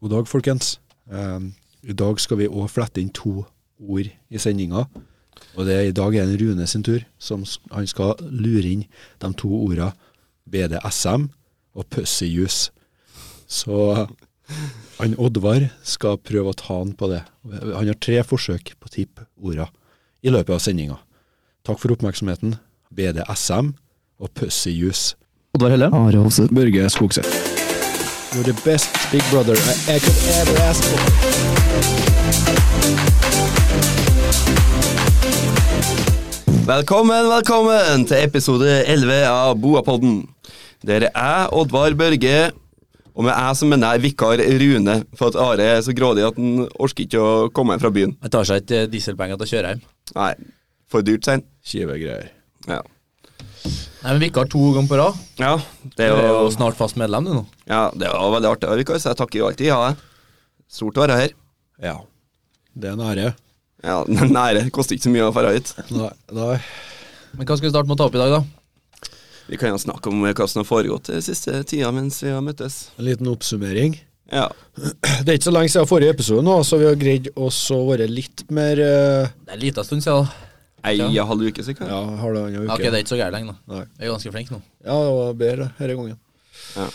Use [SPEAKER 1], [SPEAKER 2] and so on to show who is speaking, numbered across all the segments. [SPEAKER 1] God dag, folkens. Em, I dag skal vi òg flette inn to ord i sendinga. Og det er i dag er det Rune sin tur. Som, s- han skal lure inn de to orda BDSM og pussyjuice. Så han Oddvar skal prøve å ta han på det. Han har tre forsøk på å tippe orda i løpet av sendinga. Takk for oppmerksomheten. BDSM og pussyjuice.
[SPEAKER 2] Oddvar Helle.
[SPEAKER 3] Are Hovseth.
[SPEAKER 2] Børge Skogseth.
[SPEAKER 1] You're the best big brother I, I could ever ask for.
[SPEAKER 4] Velkommen, velkommen til episode 11 av Boapodden. Der er jeg, Oddvar Børge, og med jeg som mener jeg vikar Rune, for at Are er så grådig at han orker ikke å komme hjem fra byen.
[SPEAKER 5] Jeg tar seg ikke dieselpenger til å kjøre hjem.
[SPEAKER 4] Nei, for dyrt, sein.
[SPEAKER 1] Kjive greier.
[SPEAKER 4] Ja.
[SPEAKER 5] Nei, men Vikar to ganger på rad.
[SPEAKER 4] ja, det
[SPEAKER 5] Du
[SPEAKER 4] er
[SPEAKER 5] er jo
[SPEAKER 4] jo
[SPEAKER 5] snart fast medlem, du nå.
[SPEAKER 4] ja, det var veldig artig å være vikar, så jeg takker jo alltid ja. jeg. Stort å være her.
[SPEAKER 1] Ja. Det er en ære.
[SPEAKER 4] Ja, Nære. Koster ikke så mye å dra hit.
[SPEAKER 1] Nei, nei.
[SPEAKER 5] Men hva skal vi starte med å ta opp i dag, da?
[SPEAKER 4] Vi kan jo snakke om hva som har foregått de siste tida mens vi har møttes.
[SPEAKER 1] En liten oppsummering.
[SPEAKER 4] Ja.
[SPEAKER 1] Det er ikke så lenge siden forrige episode nå, så vi har greid også å være litt mer eh,
[SPEAKER 5] Det er en liten stund siden, da.
[SPEAKER 4] Ei og halv uke, sikkert.
[SPEAKER 1] Ja, halvannen uke.
[SPEAKER 5] Ok, det er ikke så gærent lenger, da.
[SPEAKER 1] Nei.
[SPEAKER 5] Jeg er ganske flink nå.
[SPEAKER 1] Ja, det var bedre denne gangen.
[SPEAKER 4] Ja.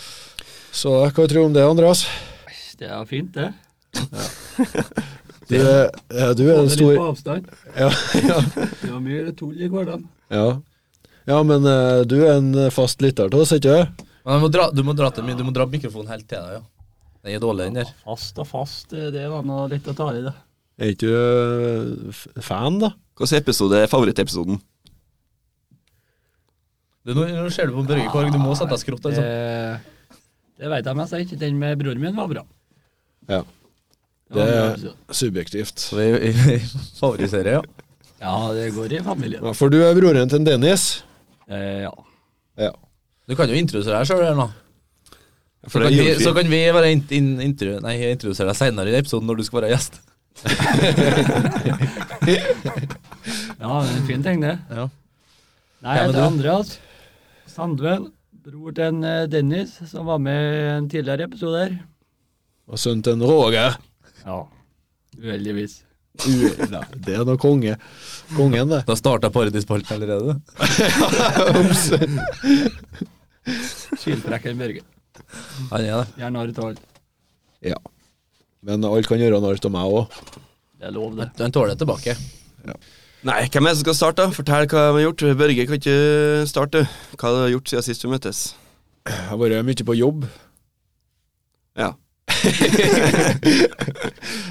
[SPEAKER 1] Så hva tror du om det, Andreas?
[SPEAKER 3] Det er fint, det.
[SPEAKER 1] Du, er- eh, du er
[SPEAKER 3] Holder
[SPEAKER 1] en
[SPEAKER 3] litt
[SPEAKER 1] stor
[SPEAKER 3] på avstand.
[SPEAKER 1] ja, ja.
[SPEAKER 3] Det var mye tull i hverdagen.
[SPEAKER 1] ja. ja, men eh, du er en fast lytter til oss, ikke sant?
[SPEAKER 5] Men du må dra, du må dra, til, du må dra mikrofonen helt til deg, ja. Den er dårlig, den der.
[SPEAKER 3] Fast og fast, eh, det er da noe litt å ta i, det.
[SPEAKER 1] Er ikke du eh, f- fan, da?
[SPEAKER 4] Hvilken episode er favorittepisoden?
[SPEAKER 5] Du, nå, nå ser du på Børge Korg, du må sette deg
[SPEAKER 3] Sånn
[SPEAKER 5] skrått, altså.
[SPEAKER 3] Det, det vet jeg mest ikke. Den med broren min var bra.
[SPEAKER 1] Ja.
[SPEAKER 3] Det var
[SPEAKER 1] Det
[SPEAKER 3] bra,
[SPEAKER 1] er
[SPEAKER 3] altså.
[SPEAKER 1] subjektivt.
[SPEAKER 5] Så vi, vi favoriserer, ja.
[SPEAKER 3] Ja, det går i familien.
[SPEAKER 1] Ja, for du er broren til Dennis.
[SPEAKER 3] Eh, ja.
[SPEAKER 1] Ja.
[SPEAKER 5] Du kan jo introdusere deg sjøl her nå. Så
[SPEAKER 4] For
[SPEAKER 5] kan,
[SPEAKER 4] det
[SPEAKER 5] vi,
[SPEAKER 4] gjorde vi.
[SPEAKER 5] så kan vi være in, in, intro, nei, introdusere deg seinere i episoden når du skal være gjest.
[SPEAKER 3] ja, det er en fin ting, det.
[SPEAKER 5] Ja.
[SPEAKER 3] Nei,
[SPEAKER 5] Ja,
[SPEAKER 3] jeg
[SPEAKER 5] men
[SPEAKER 3] heter
[SPEAKER 5] du-
[SPEAKER 3] Andreas Sandvel. Bror til en, eh, Dennis, som var med i en tidligere episode her.
[SPEAKER 1] Og sønnen til en Roger.
[SPEAKER 3] Ja. Uheldigvis.
[SPEAKER 1] U- Nei, Det er noe konge. Kongen, det.
[SPEAKER 5] Da starta Paradisparken allerede.
[SPEAKER 3] Skilprekken Børge.
[SPEAKER 5] Han er det.
[SPEAKER 3] Gjerne har et tall.
[SPEAKER 1] Ja. Men alle kan gjøre narr av meg òg.
[SPEAKER 3] Det er lov, det.
[SPEAKER 5] Han tåler det tilbake.
[SPEAKER 4] Nei, hvem er det som skal starte? da? Fortell hva de har gjort. Børge kan ikke starte. Hva har du gjort siden sist vi møttes?
[SPEAKER 1] Jeg har vært mye på jobb.
[SPEAKER 4] Ja.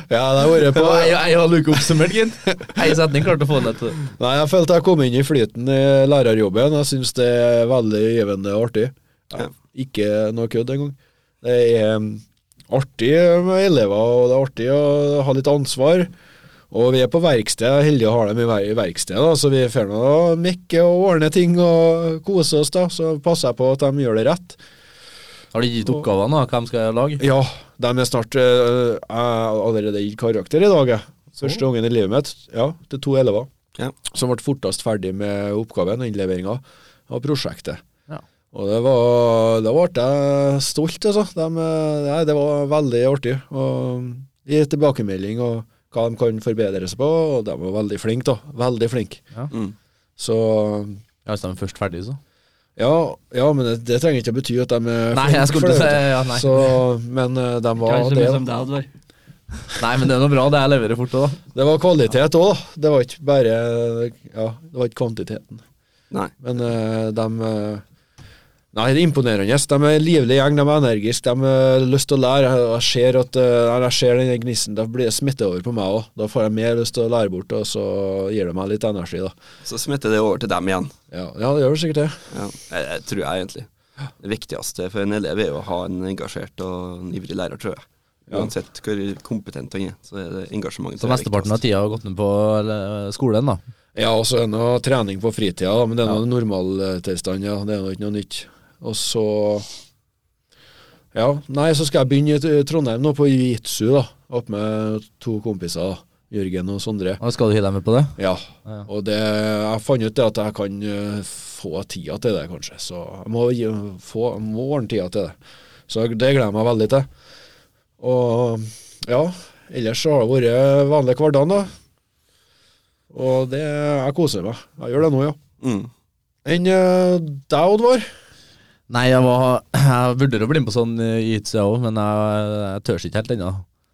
[SPEAKER 1] Ja, det har vært på
[SPEAKER 5] Jeg, jeg har luka oppsummert, gitt. Ei setning klarte å få det til.
[SPEAKER 1] Nei, jeg følte jeg kom inn i flyten i lærerjobben. Jeg syns det er veldig givende og artig. Ja,
[SPEAKER 4] Ja.
[SPEAKER 1] ikke noe kødd engang. Det er um, artig med elever, og det er artig å ha litt ansvar. Og vi er på verksted, heldig å ha dem i ver- i verksted, da, så vi får nå mekke og ordne ting og kose oss, da. Så passer jeg på at de gjør det rett.
[SPEAKER 5] Har de gitt oppgavene, da? Hvem skal jeg lage?
[SPEAKER 1] Ja, de er snart øh, Jeg har allerede gitt karakter i dag, jeg. Første gangen i livet mitt. Ja, til to elever.
[SPEAKER 4] Ja.
[SPEAKER 1] Som ble fortest ferdig med oppgaven og innleveringa av prosjektet.
[SPEAKER 5] Ja.
[SPEAKER 1] Og det var Da ble jeg stolt, altså. Dem, øh, nei, det var veldig artig. Og gi tilbakemelding og hva de kan forbedre seg på. Og de var veldig flinke, da. Veldig flinke.
[SPEAKER 4] Mm.
[SPEAKER 1] Så
[SPEAKER 5] Ja, Hvis de er først ferdige, så.
[SPEAKER 1] ja, ja, men det, det trenger ikke å bety at de er
[SPEAKER 5] Nei,
[SPEAKER 1] flinke
[SPEAKER 5] jeg skulle
[SPEAKER 1] for
[SPEAKER 5] si
[SPEAKER 1] det, vet du.
[SPEAKER 5] ja, nei.
[SPEAKER 1] Så, men øh, de
[SPEAKER 3] Ikke
[SPEAKER 1] var
[SPEAKER 3] alle som
[SPEAKER 1] det.
[SPEAKER 3] er
[SPEAKER 1] da.
[SPEAKER 3] som deg, Oddvar.
[SPEAKER 5] Nei, men det er noe bra, det. Jeg leverer fort òg, da.
[SPEAKER 1] Det var kvalitet òg, da. Det var ikke bare Ja, det var ikke kvantiteten.
[SPEAKER 4] Nei.
[SPEAKER 1] Men de Nei, det er imponerende. De er en livlig gjeng, de er energiske, de eh, har lyst til å lære. Jeg- Jeg ser at eh, når jeg ser den gnisten, da blir det smitte over på meg òg. Da får jeg mer lyst til å lære bort, og så gir det meg litt energi, da.
[SPEAKER 4] Så smitter det over til dem igjen.
[SPEAKER 1] Ja, ja det gjør det sikkert det.
[SPEAKER 4] Ja. Det det tror jeg egentlig. Det viktigste for en elev er jo å ha en engasjert og en ivrig lærer, tror jeg. Uansett hvor kompetent han er, så er det engasjementet
[SPEAKER 5] Så mesteparten av tida har gått ned på eh, skolen, da.
[SPEAKER 1] Ja, og så er det noe trening på fritida, da, men det er noe normaltilstand, ja. Det er nå ikke noe nytt. Og så Ja, nei, så skal jeg begynne i T- Trondheim nå, på jiu-jitsu, da. Opp med to kompiser, da. Jørgen og Sondre.
[SPEAKER 5] Og skal du hylle dem med på det?
[SPEAKER 1] Ja.
[SPEAKER 5] Ja.
[SPEAKER 1] Og det, jeg fant ut det at jeg kan eh, få tida til det, kanskje. Så jeg må, gi- få, jeg må ordne tida til det. Så det gleder jeg meg veldig til. Og Ja, ellers så har det vært vanlig hverdag, da. Og det Jeg koser meg. Jeg gjør det nå, ja.
[SPEAKER 4] Mm.
[SPEAKER 1] Enn eh, deg, Oddvar?
[SPEAKER 5] Nei, jeg, var, jeg vurderer å bli med på sånn eh, jiu-jitsu, jeg òg, men jeg, jeg tør ikke helt ennå.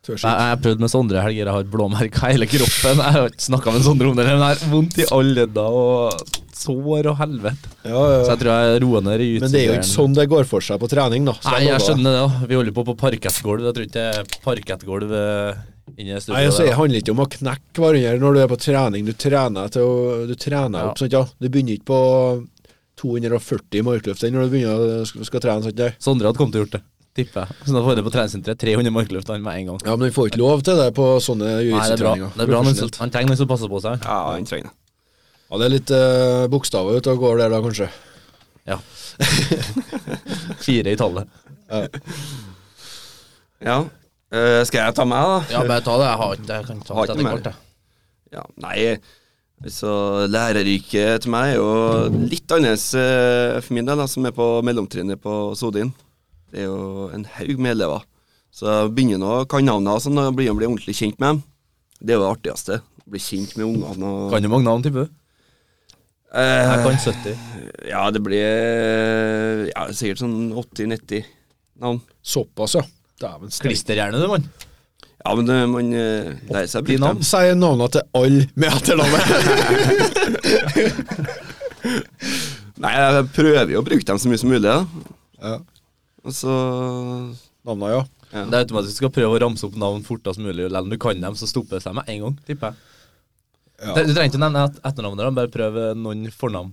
[SPEAKER 1] Tørs
[SPEAKER 5] Jeg, jeg prøvde med Sondre i helger, jeg har blåmerker i hele kroppen. Jeg har ikke snakka med Sondre om det, men jeg har vondt i alle ledder og sår og helvete.
[SPEAKER 1] Ja,
[SPEAKER 5] Så
[SPEAKER 1] ja.
[SPEAKER 5] jeg tror jeg roer ned i
[SPEAKER 1] Men det er jo ikke sånn det går for seg på trening, da. Så
[SPEAKER 5] Nei,
[SPEAKER 1] lover
[SPEAKER 5] jeg
[SPEAKER 1] deg.
[SPEAKER 5] skjønner det. da. Vi holder på på parkettgulv. Jeg tror ikke det er parkettgulv eh, inni
[SPEAKER 1] Nei,
[SPEAKER 5] det
[SPEAKER 1] altså,
[SPEAKER 5] studioet.
[SPEAKER 1] Det
[SPEAKER 5] der, da.
[SPEAKER 1] handler ikke om å knekke hverandre når du er på trening. Du trener, til å, du trener
[SPEAKER 5] Ja.
[SPEAKER 1] opp. Sant, ja? Du begynner ikke på 240 i markløft den når du begynner å skal, skal trene. Sant, det?
[SPEAKER 5] Sondre hadde kommet til å gjort det, tipper jeg. Så da får han det på treningssenteret. 300 markløft han med en gang.
[SPEAKER 1] Ja, Men du får ikke lov til det på sånne
[SPEAKER 5] Nei, det er bra.
[SPEAKER 1] jiu-jitsu-treninger.
[SPEAKER 5] Det er bra men så- han trenger noen som passer på seg.
[SPEAKER 4] Ja, han trenger det.
[SPEAKER 1] Ja, det er litt eh, bokstaver ute og går der, da, kanskje.
[SPEAKER 5] Ja. Fire i tallet.
[SPEAKER 4] Ja. Eh, skal jeg ta meg, da?
[SPEAKER 5] Ja, bare ta det. Jeg har ikke Jeg kan ta
[SPEAKER 4] Har ikke noe mer. Ja, nei så læreryrket til meg er jo litt annerledes eh, for min del, da, som er på mellomtrinnet på Sodin. Det er jo en haug med elever. Så jeg begynner nå å kan navnene og sånn, og blir blir ordentlig kjent med dem. Det er jo det artigste. Bli kjent med ungene og
[SPEAKER 5] Kan jo mange navn, tipper du? Jeg
[SPEAKER 4] eh,
[SPEAKER 5] kan 70.
[SPEAKER 4] Ja, det blir eh, ja, sikkert sånn 80-90 navn.
[SPEAKER 1] Såpass, ja. Dæven steike.
[SPEAKER 5] Klisterhjerne, du, mann.
[SPEAKER 4] Ja, men eh, man eh, lærer seg å bruke
[SPEAKER 5] navn?
[SPEAKER 4] dem.
[SPEAKER 1] Sier navnene til alle med etternavnet.
[SPEAKER 4] Nei, jeg prøver jo å bruke dem så mye som mulig. Da.
[SPEAKER 1] ja.
[SPEAKER 4] Og så
[SPEAKER 1] Navnene, ja.
[SPEAKER 4] Ja.
[SPEAKER 5] Det er automatisk du skal prøve å ramse opp navn fortest mulig. Selv om du kan dem, så stopper det seg med en gang, tipper jeg.
[SPEAKER 1] Ja.
[SPEAKER 5] Du trenger ikke nevne et- etternavnet, da, bare prøv eh, noen fornavn.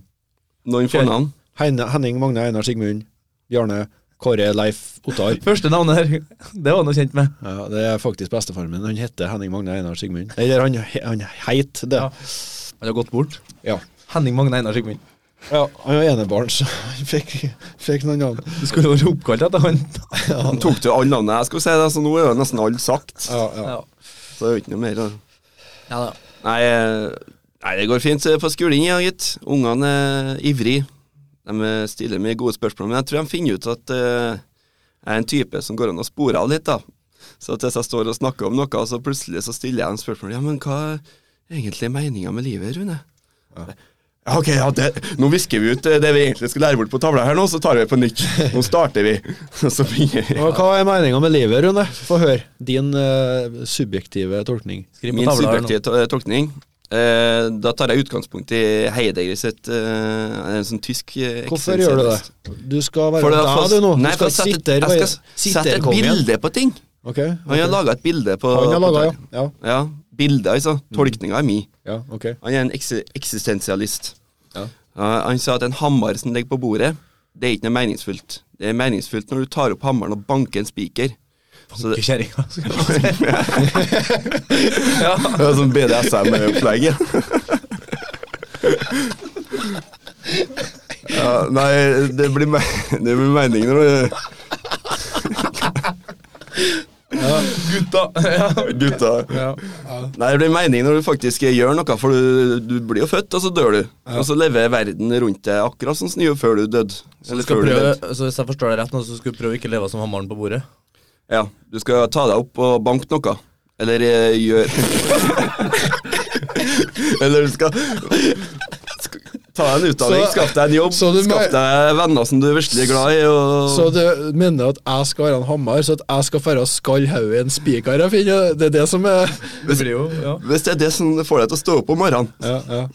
[SPEAKER 4] Noen
[SPEAKER 5] Kjør.
[SPEAKER 4] fornavn.
[SPEAKER 1] Henne, Henning, Magne, Einar, Sigmund, Bjarne, Kåre, Leif, Ottar.
[SPEAKER 5] Første navnet her, det var han jo kjent med.
[SPEAKER 1] Ja, det er faktisk bestefaren min. Han heter Henning Magne Einar Sigmund. Eller han, han heit det.
[SPEAKER 5] Ja. Han har gått bort.
[SPEAKER 1] Ja.
[SPEAKER 5] Henning Magne Einar Sigmund.
[SPEAKER 1] ja. Han var enebarn, så han fikk, fikk noen navn.
[SPEAKER 5] Du skulle vært oppkalt etter han.
[SPEAKER 4] Han tok til alle navnene jeg skulle si, det, så nå er jo nesten alle sagt.
[SPEAKER 1] Ja, ja.
[SPEAKER 5] Ja.
[SPEAKER 4] Så det er jo ikke noe mer. da.
[SPEAKER 5] Ja, da.
[SPEAKER 4] Nei, eh, nei, det går fint eh, på skolen, ja, gitt. Ungene er ivrige. De eh, stiller med gode spørsmål, men jeg tror de finner ut at eh, jeg er en type som går an å spore av litt, da. Så at hvis jeg står og snakker om noe, så plutselig så stiller jeg en spørsmål. Ja, men hva er egentlig meninga med livet, Rune? Ja, ok, ja, det, Nå visker vi ut eh, det vi egentlig skulle lære bort på tavla her nå, så tar vi det på nytt. Nå starter vi. Og så begynner vi.
[SPEAKER 1] Og hva er meninga med livet, Rune? Få høre. Din eh, subjektive tolkning.
[SPEAKER 5] Skriv på
[SPEAKER 4] Min
[SPEAKER 5] tavla her nå.
[SPEAKER 4] subjektive to- tolkning eh, Da tar jeg utgangspunkt i Heidegger sitt eh, En sånn tysk eh,
[SPEAKER 1] Hvorfor gjør du det?
[SPEAKER 4] eksistensialist.
[SPEAKER 1] Du skal være
[SPEAKER 4] For det er
[SPEAKER 1] deg, du
[SPEAKER 4] fast-
[SPEAKER 1] nå. Du
[SPEAKER 4] Nei, for
[SPEAKER 1] skal
[SPEAKER 4] jeg setter-
[SPEAKER 1] sitte her
[SPEAKER 4] Jeg
[SPEAKER 1] og
[SPEAKER 4] skal sette et bilde på ting.
[SPEAKER 1] Ok.
[SPEAKER 4] Han har laga et bilde på
[SPEAKER 1] Han har
[SPEAKER 4] på
[SPEAKER 1] laga, ja. Mm.
[SPEAKER 4] ting.
[SPEAKER 1] ja.
[SPEAKER 4] ja. Bildet, altså. Tolkninga er mi.
[SPEAKER 1] Ja, ok.
[SPEAKER 4] Han er en ekse- eksistensialist.
[SPEAKER 1] Ja.
[SPEAKER 4] Ja, han sa at en hammer som ligger på bordet, det er ikke noe meningsfullt. Det er meningsfullt når du tar opp hammeren og banker en spiker. Så det-
[SPEAKER 5] Kjerringa. skal jeg si.
[SPEAKER 4] Det er sånn BDSM-opplegget. Ja, nei, det blir, me det blir mening når du
[SPEAKER 5] Gutta. Ja.
[SPEAKER 4] Gutta. Nei, det blir mening når du faktisk gjør noe, for du, du blir jo født, og så dør du. Og så lever verden rundt deg akkurat sånn som den gjorde før du døde.
[SPEAKER 5] Du
[SPEAKER 4] Eller
[SPEAKER 5] skal
[SPEAKER 4] før du
[SPEAKER 5] prøve,
[SPEAKER 4] levde.
[SPEAKER 5] så hvis jeg forstår deg rett nå, så skal du prøve å ikke leve som hammeren på bordet.
[SPEAKER 4] Ja, du skal ta deg opp og banke noe. Eller eh, gjør Eller du skal skal Ta deg en utdanning,
[SPEAKER 1] Så-
[SPEAKER 4] skaff deg en jobb,
[SPEAKER 1] så du må-
[SPEAKER 4] skaff deg venner som du er virkelig glad i. Og...
[SPEAKER 1] Så du mener at jeg skal være en hammer, så at jeg skal fare og skalle hodet i en spiker jeg finner? Det er det som er
[SPEAKER 5] Det blir jo, ja.
[SPEAKER 4] Hvis det er det som får deg til å stå opp om morgenen.
[SPEAKER 1] Ja, ja.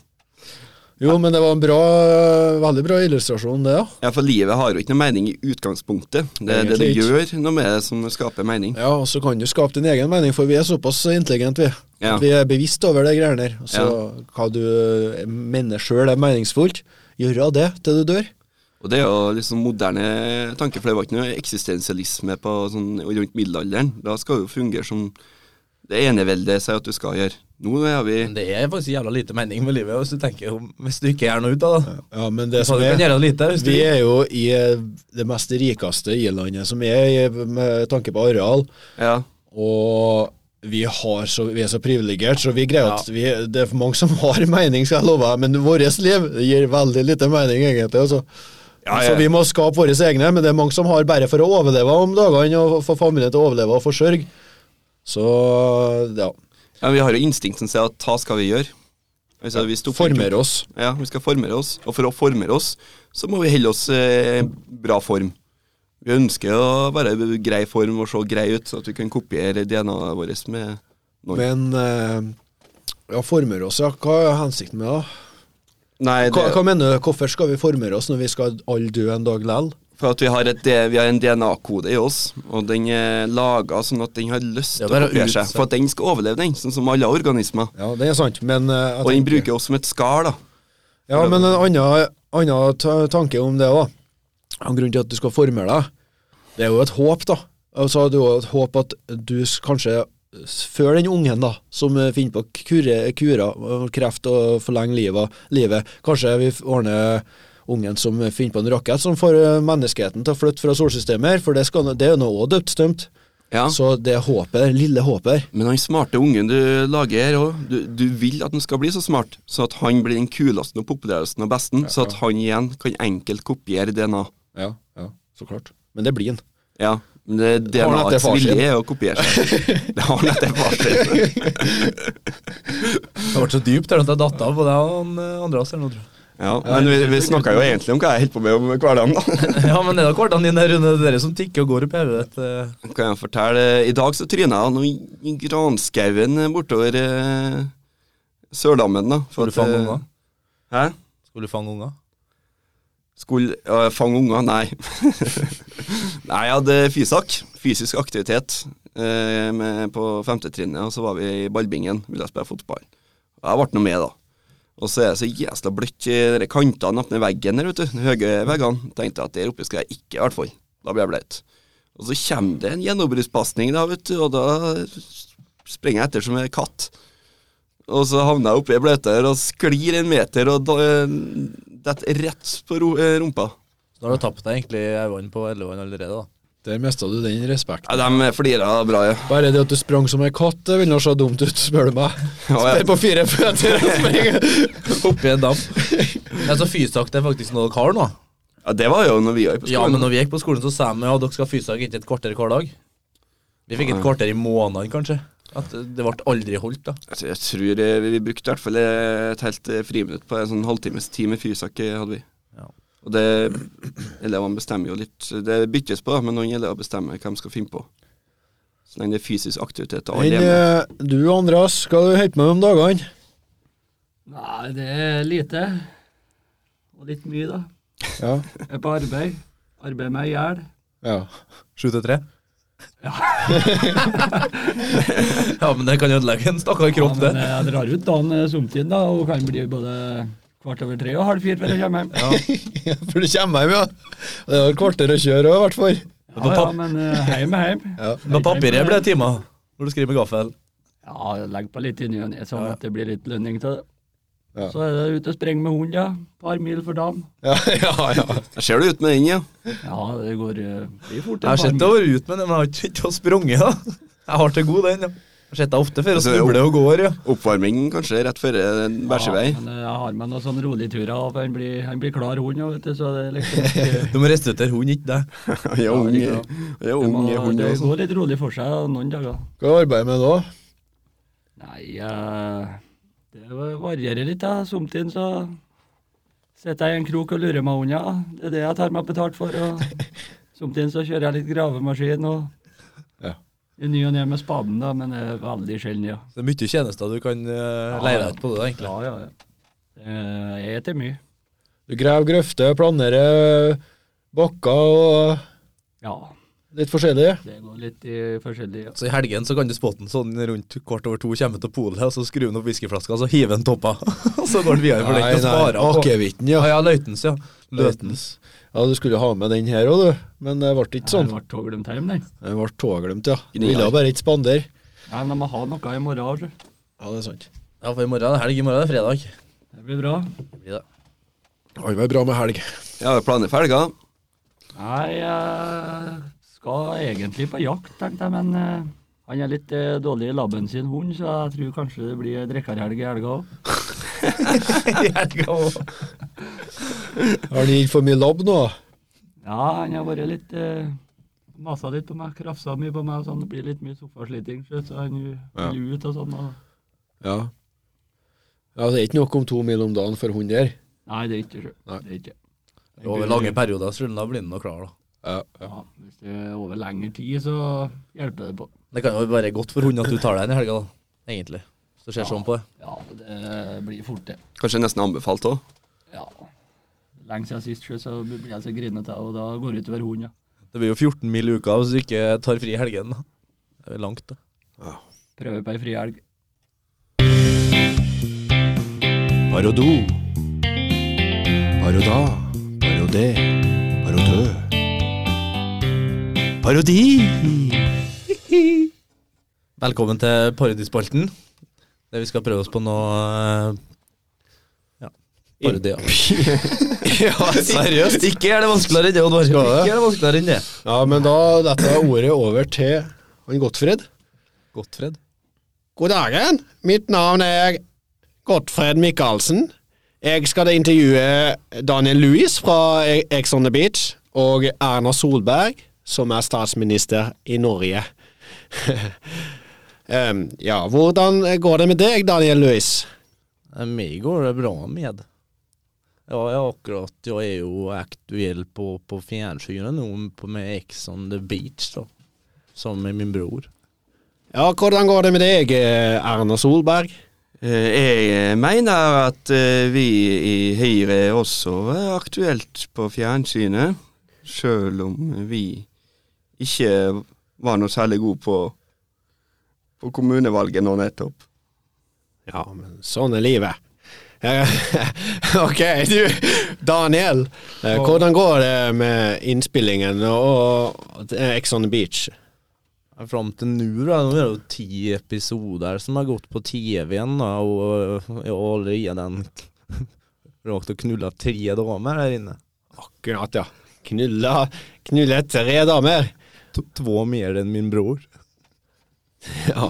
[SPEAKER 1] Jo, men det var en bra, veldig bra illustrasjon, det, ja.
[SPEAKER 4] Ja, For livet har jo ikke noe mening i utgangspunktet. Det er det du
[SPEAKER 1] Egentlig
[SPEAKER 4] gjør noe med det som skaper mening.
[SPEAKER 1] Ja, og så kan du skape din egen mening, for vi er såpass intelligente, vi.
[SPEAKER 4] Ja.
[SPEAKER 1] At vi er bevisst over de greiene der. Så hva du eh, mener sjøl er meningsfullt, gjør av det til du dør.
[SPEAKER 4] Og det er jo liksom moderne tanke, for det var ikke noe eksistensialisme på sånn rundt middelalderen. Da skal det jo fungere som det eneveldet sier at du skal gjøre. Nå er vi
[SPEAKER 5] Men det er faktisk jævla lite mening med livet hvis du tenker om, hvis du ikke gjør noe ut av det.
[SPEAKER 1] Ja, men
[SPEAKER 5] Så du kan gjøre det lite hvis du
[SPEAKER 1] Vi er jo i eh, det mest rikeste i-landet som er, i- med tanke på areal.
[SPEAKER 4] Ja.
[SPEAKER 1] Og vi, har så, vi er så privilegert, så vi greier at vi, det er for mange som har mening, skal jeg love deg, men vårt liv gir veldig lite mening, egentlig. Altså.
[SPEAKER 4] Ja, ja.
[SPEAKER 1] Så vi må skape våre egne, men det er mange som har bare for å overleve om dagene, og få familien til å overleve og forsørge. Så ja.
[SPEAKER 4] Ja, vi har jo instinkt som sier at hva skal vi gjøre? Altså, vi stopper-
[SPEAKER 1] Former oss.
[SPEAKER 4] Ja, vi skal formere oss. Og for å formere oss, så må vi holde oss eh, bra form. Vi ønsker å være i grei form og se grei ut, så at vi kan kopiere DNA-et vårt med noen.
[SPEAKER 1] Men eh, ja, former oss, ja. Hva er hensikten med det?
[SPEAKER 4] Nei,
[SPEAKER 1] da? Hva,
[SPEAKER 4] det,
[SPEAKER 1] hva mener du? Hvorfor skal vi formere oss når vi skal alle dø en dag likevel?
[SPEAKER 4] for at vi har, et, vi har en DNA-kode i oss, og den er laga sånn at den har lyst
[SPEAKER 5] Ja,
[SPEAKER 4] til å
[SPEAKER 5] bare
[SPEAKER 4] kopiere
[SPEAKER 5] ut-
[SPEAKER 4] seg. For at den skal overleve, den, sånn som alle organismer.
[SPEAKER 1] Ja, det er sant, men eh, jeg
[SPEAKER 4] Og den
[SPEAKER 1] tenker-
[SPEAKER 4] bruker oss som et skall, da.
[SPEAKER 1] Ja, men en annen, annen ta- tanke om det, da. En grunn til at du skal formere deg, det er jo et håp, da. Altså, det er jo et håp at du s- kanskje s- før den ungen da, som eh, finner på kure, kurer og kreft og forlenger livet, livet, kanskje vi f- ordner ungen som finner på en rakett som får eh, menneskeheten til å flytte fra solsystemet her, for det, skal, det er jo nå også dødsdømt.
[SPEAKER 4] Ja.
[SPEAKER 1] Så det håpet, det lille håpet her,
[SPEAKER 4] Men han smarte ungen du lager her òg, du, du vil at han skal bli så smart, så at han blir den kuleste og populæreste og besten, så at han igjen kan enkelt kopiere DNA.
[SPEAKER 1] ja, ja, så klart. Men det blir en.
[SPEAKER 4] Ja, men det
[SPEAKER 1] har han etter
[SPEAKER 4] DNA-ets
[SPEAKER 1] far sin.
[SPEAKER 4] vilje er å kopiere seg. Det har han etter far sin.
[SPEAKER 5] Det ble så dypt der at jeg datt av på det han eh, Andreas eller noe, tror jeg.
[SPEAKER 4] Ja, men vi, vi snakka jo egentlig om hva jeg holder på med om hverdagen, da.
[SPEAKER 5] Ja, men det er da kortene dine, Rune. Det er dere som tikker og går opp i hodet ditt. eh.
[SPEAKER 4] Kan jeg fortelle I dag så tryna jeg nå i i granskauen bortover eh, Sørdammen, da. for
[SPEAKER 5] Skulle du
[SPEAKER 4] at,
[SPEAKER 5] fange
[SPEAKER 4] eh,
[SPEAKER 5] unger?
[SPEAKER 4] Hæ?
[SPEAKER 5] Skulle du fange unger?
[SPEAKER 4] Skulle øh, fange unger? Nei. Nei, jeg hadde fysak. Fysisk aktivitet eh, med, på femte trinnet, og så var vi i ballbingen. Ville spille fotball. Og jeg ble nå med, da. Og så er det så jæsla bløtt i de kantene attmed veggen her, vet du. De høye veggene. Tenkte jeg at der oppe skal jeg ikke, i hvert fall. Da blir jeg blaut. Og så kommer det en gjennombruddspasning, da, vet du, og da springer jeg etter som en katt. Og så havner jeg oppi bløta her og sklir en meter og da- eh, detter rett på ro- eh, rumpa.
[SPEAKER 5] Så da har du tapt deg egentlig i øynene på ellevevann allerede, da.
[SPEAKER 1] Der mista du den respekten.
[SPEAKER 4] Ja, eh, de flirer bra, ja.
[SPEAKER 1] Bare det at du sprang som en katt, det ville nå se dumt ut, spør du meg.
[SPEAKER 4] Ja, ja.
[SPEAKER 1] Spør på fire føtter altså. og springer.
[SPEAKER 5] Oppi en dam. Ja, så Fysak det er faktisk noe dere har nå.
[SPEAKER 4] ja, det var jo når vi var på
[SPEAKER 5] Ja,
[SPEAKER 4] skolen.
[SPEAKER 5] men når vi gikk på skolen, så sa de ja, dere skal ha fysak inntil et kvarter hver dag. Vi fikk et kvarter i måneden, kanskje. At eh, det ble aldri holdt, da.
[SPEAKER 4] Altså, Jeg tror eh, vi brukte i hvert fall eh, et helt eh, friminutt på en sånn halvtimes time fysak eh, hadde vi.
[SPEAKER 5] Ja.
[SPEAKER 4] Og det, elevene bestemmer jo litt. Det byttes på, da, men noen elever bestemmer hva de skal finne på. Så lenge det er fysisk aktivitet til alle
[SPEAKER 1] Men
[SPEAKER 4] hjemme.
[SPEAKER 1] eh, du, Andreas, hva du holder på med om dagene?
[SPEAKER 3] Nei, det er lite. Og litt mye, da.
[SPEAKER 1] Ja.
[SPEAKER 3] Jeg er på arbeid. Arbeider meg i hjel.
[SPEAKER 1] ja.
[SPEAKER 5] Sju til tre? Ja. ja, men det kan ødelegge en stakkar kropp,
[SPEAKER 3] Ja,
[SPEAKER 5] det.
[SPEAKER 3] men eh, jeg drar ut dagen eh, somtid, da, og kan bli både kvart over tre og halv fire før jeg kommer hjem.
[SPEAKER 1] For du kommer hjem, ja. Det er jo et kvarter å kjøre òg, i hvert fall.
[SPEAKER 3] Ja, ja, men eh, heim er heim.
[SPEAKER 1] Ja.
[SPEAKER 5] Men papiret ble timer når du skriver med gaffel.
[SPEAKER 3] Ja, legg på litt inni og ned, sånn at det blir litt lønning til det.
[SPEAKER 1] Ja.
[SPEAKER 3] Så er det ute og sprenge med hund, ja. Par mil for dagen.
[SPEAKER 1] Ja, ja, ja.
[SPEAKER 4] Jeg ser det ut med den, ja.
[SPEAKER 3] Ja, det går eh, blir fort.
[SPEAKER 5] Jeg har sett deg være ute, men jeg har ikke ikke sprunget, da. Jeg har til god den, ja. Jeg har sett deg ofte før og
[SPEAKER 4] Altså, det er
[SPEAKER 5] snubler og går, ja.
[SPEAKER 4] Oppvarmingen kanskje rett før eh, bæsjevei.
[SPEAKER 3] Ja, men eh, jeg har meg noen sånne rolige turer, og han blir, han blir klar hund, ja, vet du, så det er liksom ikke
[SPEAKER 5] Du må restituere hunden, ikke deg.
[SPEAKER 4] Jeg er ung,
[SPEAKER 3] Ja,
[SPEAKER 4] jeg
[SPEAKER 3] det
[SPEAKER 4] er ung
[SPEAKER 3] Man-
[SPEAKER 4] jeg er
[SPEAKER 1] altså.
[SPEAKER 4] hund altså.
[SPEAKER 3] det
[SPEAKER 4] også.
[SPEAKER 3] går litt rolig for seg noen dager.
[SPEAKER 1] Hva arbeider du med nå?
[SPEAKER 3] Nei, eh, det varierer litt. da. Somtiden så sitter jeg i en krok og lurer meg unna. Det er det jeg tar meg betalt for. og Somtiden så kjører jeg litt gravemaskin og
[SPEAKER 1] Ja.
[SPEAKER 3] i ny og ne med spaden, da, men det er veldig sjelden, ja.
[SPEAKER 5] Det er mye tjenester du kan uh, leie deg ut på det, da, egentlig.
[SPEAKER 3] Ja, ja, ja. Eh, Jeg spiser mye.
[SPEAKER 1] Du graver grøfter, planerer bakker og
[SPEAKER 3] Ja.
[SPEAKER 1] litt forskjellig.
[SPEAKER 3] Det går litt i forskjellig, ja.
[SPEAKER 5] Så i helgen så kan du spotte den sånn rundt kvart over to, kommer til polet, og så skrur den opp whiskyflaska, og så hiver den toppa. Og så går den videre for den og sparer på.
[SPEAKER 1] akevitten,
[SPEAKER 5] Ja,
[SPEAKER 1] ja.
[SPEAKER 5] ja, Løytens, ja. Løytens.
[SPEAKER 1] Løtens. Ja, du skulle ha med den her òg, du. Men det ble ikke sånn.
[SPEAKER 3] Det ble tåglemt hjem, den.
[SPEAKER 1] Den ble tåglemt, ja. Du
[SPEAKER 4] Gnier.
[SPEAKER 1] ville bare ikke spandere.
[SPEAKER 3] Nei, men de må ha noe i morgen. altså.
[SPEAKER 1] Ja, det er sant.
[SPEAKER 5] Ja, for i morgen er det helg, i morgen er det fredag.
[SPEAKER 3] Det blir bra.
[SPEAKER 5] Det blir det.
[SPEAKER 1] Han var bra med helg.
[SPEAKER 4] Ja, planer for helga.
[SPEAKER 3] Nei, jeg skal egentlig på jakt, tenkte jeg, men eh, han er litt eh, dårlig i labben sin hund, så jeg tror kanskje det blir drikkerhelg i helga òg.
[SPEAKER 5] I helga også.
[SPEAKER 1] Har han gitt for mye labb nå?
[SPEAKER 3] Ja, han har vært litt eh, masa litt på meg, krafsa mye på meg, og sånn, det blir litt mye sofasliting, slutt, så han
[SPEAKER 1] Ja.
[SPEAKER 3] vil ut og sånn. Og,
[SPEAKER 1] Ja. ja. Det er ikke nok om to mil om dagen for hund der.
[SPEAKER 3] nei, det er ikke sjø.
[SPEAKER 1] Nei.
[SPEAKER 3] Det er ikke.
[SPEAKER 5] Over lange perioder så da blir den nå klar, da.
[SPEAKER 1] Ja, ja.
[SPEAKER 3] Ja, hvis det er over lengre tid, så hjelper det på.
[SPEAKER 5] Det kan jo være godt for hunden at du tar deg en i helga, da. Egentlig. Hvis du ser sånn på det.
[SPEAKER 3] Ja, det blir fort det.
[SPEAKER 4] Kanskje nesten anbefalt òg.
[SPEAKER 3] Ja. Lenge siden sist, sjø, så blir jeg så grinete, og da går det utover hunden. Ja.
[SPEAKER 5] Det blir jo 14 mil i uka hvis du ikke tar fri i helgen. da. Det er langt, da.
[SPEAKER 3] Prøver på ei frihelg.
[SPEAKER 1] Parodo. Paroda. Parodé. Parodø. Parodi!
[SPEAKER 5] Velkommen til parodispalten. Der vi skal prøve oss på noe eh, ja, parodi. Ja. ja, seriøst. Ikke er det vanskeligere enn det, Oddvar.
[SPEAKER 1] Skal det?
[SPEAKER 5] Ikke er det vanskeligere enn det.
[SPEAKER 1] Ja, men da detter jeg ordet over til han Gottfred.
[SPEAKER 5] Gottfred.
[SPEAKER 1] God dagen. Mitt navn er Gottfred Michaelsen. Jeg skal intervjue Daniel Lewis fra Ex on the Beach og Erna Solberg, som er statsminister i Norge. Em, ja, hvordan går det med deg, Daniel Lewis?
[SPEAKER 5] Eh, Meg går det bra med. Ja, jeg er akkurat, jeg er jo aktuell på, på fjernsynet nå på- med Ex on the beach, da. Som med min bror.
[SPEAKER 1] Ja, hvordan går det med deg, eh, Erna Solberg?
[SPEAKER 4] Eh, Jeg mener at eh, vi i Høyre også er aktuelt på fjernsynet, sjøl om vi ikke var noe særlig gode på, på kommunevalget nå nettopp.
[SPEAKER 1] Ja, men sånn er livet. Eh, ok, du, Daniel. eh, Hvordan går det med innspillingen og og Ex on the Beach?
[SPEAKER 5] Ja, Fram til nå, da. Nå er det jo ti episoder som har gått på TV-en, da, og jeg har allerede rakt og knulla tre damer her inne.
[SPEAKER 1] Akkurat, ja. Knulla, knulla tre damer.
[SPEAKER 5] To, två mer enn min bror.
[SPEAKER 1] Ja,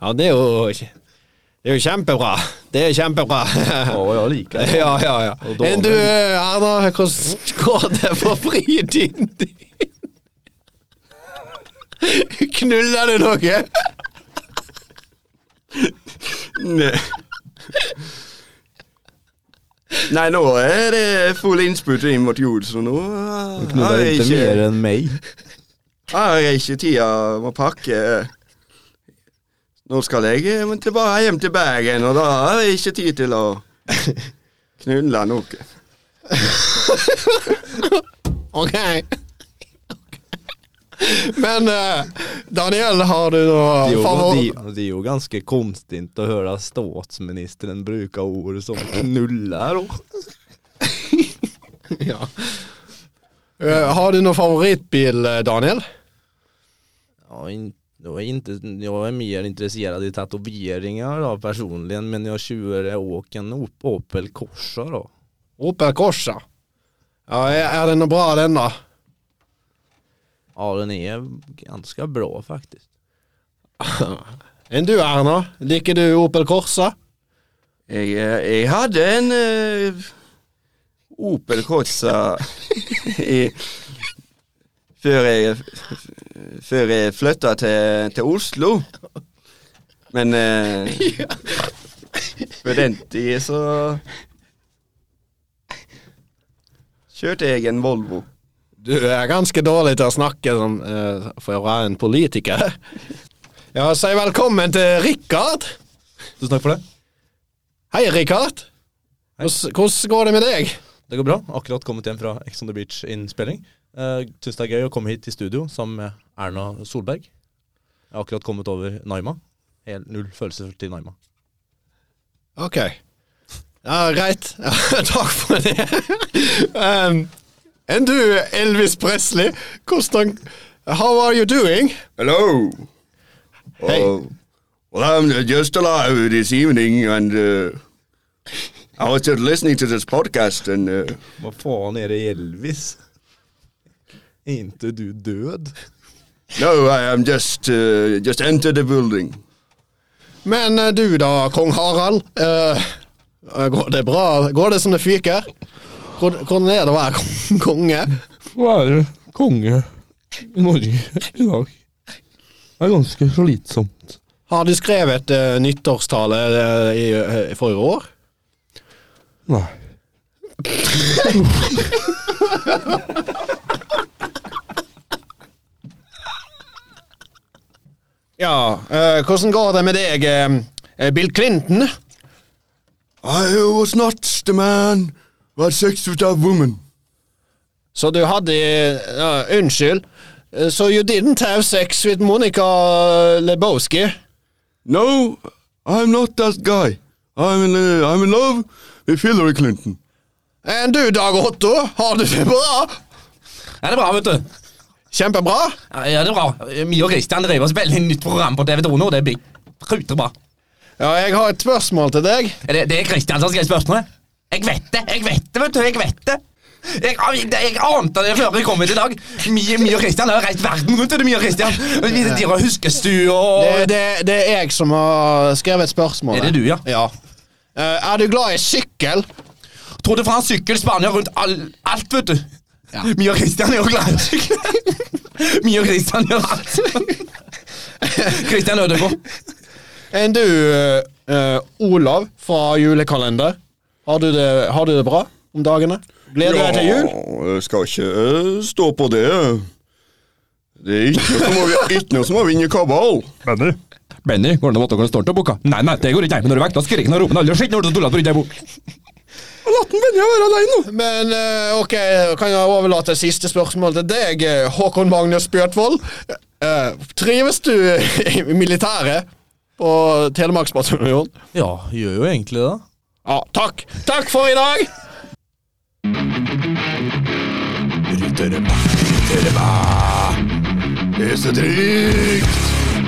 [SPEAKER 1] ja det er jo Det er jo kjempebra. Det er kjempebra.
[SPEAKER 5] Ja, jeg liker det.
[SPEAKER 1] Ja, ja, ja.
[SPEAKER 5] Og damer.
[SPEAKER 1] Enn du, Erna, hvordan går det på fritiden din? Knuller du noe?
[SPEAKER 4] Nei. Nei, nå er det full innspurt inn mot jul, så nå eh, har
[SPEAKER 5] Knulla
[SPEAKER 4] jeg
[SPEAKER 5] ikke
[SPEAKER 4] ikke,
[SPEAKER 5] mer enn meg.
[SPEAKER 4] har jeg ikke tida å pakke. Nå skal jeg eh, tilbake hjem til Bergen, og da har jeg ikke tid til å knulle noe.
[SPEAKER 1] Ok. Men eh, Daniel, har du
[SPEAKER 5] Det er
[SPEAKER 1] noe
[SPEAKER 5] jo, det,
[SPEAKER 1] favoritt?
[SPEAKER 5] det er jo ganske konstig å høre statsministeren bruke ord som 'knuller' og
[SPEAKER 1] Ja. Eh, har du noe favorittbil, eh, Daniel?
[SPEAKER 5] Ja, in- jag är inte, jag är mer intresserad i tatueringar då, personligen, men jag tjurar och en Op- Opel Corsa då.
[SPEAKER 1] Opel Corsa. Ja, er er den noe bra, den, da?
[SPEAKER 5] Ja, den är ganska bra faktiskt.
[SPEAKER 1] Enn du, Erna? Liker du Opel Corsa?
[SPEAKER 4] Jeg, eh, jeg hadde en eh, Opel Corsa i, før jeg, f- før jeg flytta til, til Oslo. Men eh, på den tid så kjørte jeg en Volvo.
[SPEAKER 1] Du er ganske dårlig til å snakke som, eh, for å være en politiker. Ja, si velkommen til Rikard.
[SPEAKER 5] Tusen takk for det.
[SPEAKER 1] Hei, Rikard. Hvordan hvordan går det med deg?
[SPEAKER 5] Det går bra. Akkurat kommet hjem fra Ex on the Beach-innspilling. Uh, Syns det er gøy å komme hit til studio sammen med Erna Solberg. Jeg har akkurat kommet over Naima. Helt null følelser til Naima.
[SPEAKER 1] Ok. Ja, greit. Ja, Takk for det. um, enn du, Elvis Presley, hvordan How are you doing?
[SPEAKER 4] Hello.
[SPEAKER 1] Hey.
[SPEAKER 4] Oh, well, I'm uh, just alive this evening, and uh, I was just listening to this podcast, and uh,
[SPEAKER 5] Hva faen er det i Elvis? Er inte du død?
[SPEAKER 4] No, I am just uh, just enter the building.
[SPEAKER 1] Men eh, du da, kong Harald. eh, eh, går det bra? Går det som det fyker? Hvor- Hvordan er det å være kon- konge?
[SPEAKER 5] Være konge.
[SPEAKER 2] i Norge i dag. Det er ganske slitsomt.
[SPEAKER 1] Har du skrevet eh, nyttårstale eh, i, eh, forrige år?
[SPEAKER 2] Nei.
[SPEAKER 1] Ja. eh, hvordan går det med deg, eh, Bill Clinton?
[SPEAKER 4] I was not the man who had sex with a woman.
[SPEAKER 1] Så du hadde ja, Unnskyld. Eh, So you didn't have sex with Monica Lebowski?
[SPEAKER 4] No, I'm not that guy. I'm in, uh, I'm in love with Hillary Clinton.
[SPEAKER 1] Enn Eh, du, Dag Otto? Har du det bra?
[SPEAKER 5] Ja, det er bra, vet du.
[SPEAKER 1] Kjempebra?
[SPEAKER 5] Ja, det er bra. Vi og Christian driver og spiller inn nytt program på TV2 nå. Det blir kruterbra.
[SPEAKER 1] Ja, jeg har et spørsmål til deg.
[SPEAKER 5] Er det, det er Christian som skrev spørsmålet? Jeg vet det, jeg vet det, vet du. Jeg vet det. Jeg, jeg, jeg ante det før jeg kom hit i dag. Mi, mi og Christian har reist verden rundt. er det Mi og Christian. Vi driver og huskestue og
[SPEAKER 1] Det, det, det er jeg som har skrevet spørsmålet.
[SPEAKER 5] Er det du, ja?
[SPEAKER 1] Ja. Eh, er du glad i sykkel?
[SPEAKER 5] Tror du fra sykkel Spania rundt all, alt, vet du. Mi og Christian er jo glad i å sykle. Mi og Christian gjør alt. Christian Ødegaard.
[SPEAKER 1] Enn du, eh, eh, Olav fra julekalender? Har du, det, har du det bra om dagene? Gleder du deg til jul?
[SPEAKER 4] jeg skal ikke eh, stå på det. Det er ikke noe som å vi- ikke noe som å vinne kabal.
[SPEAKER 5] Benny. Benny, går det an å måtte gå en stolt og boka? Nei, nei, det går ikke. Men når du vekker skriken og roper aldri skitt når du tuller på rydda bok.
[SPEAKER 1] Men eh, ok, kan jeg overlate siste spørsmål til deg, eh, Håkon Magnus Bjørtvold? Eh, trives du i militæret på Telemarksbataljonen?
[SPEAKER 6] Ja, gjør jo egentlig det.
[SPEAKER 1] Ja, takk! Takk for i dag!
[SPEAKER 4] Det er så trygt!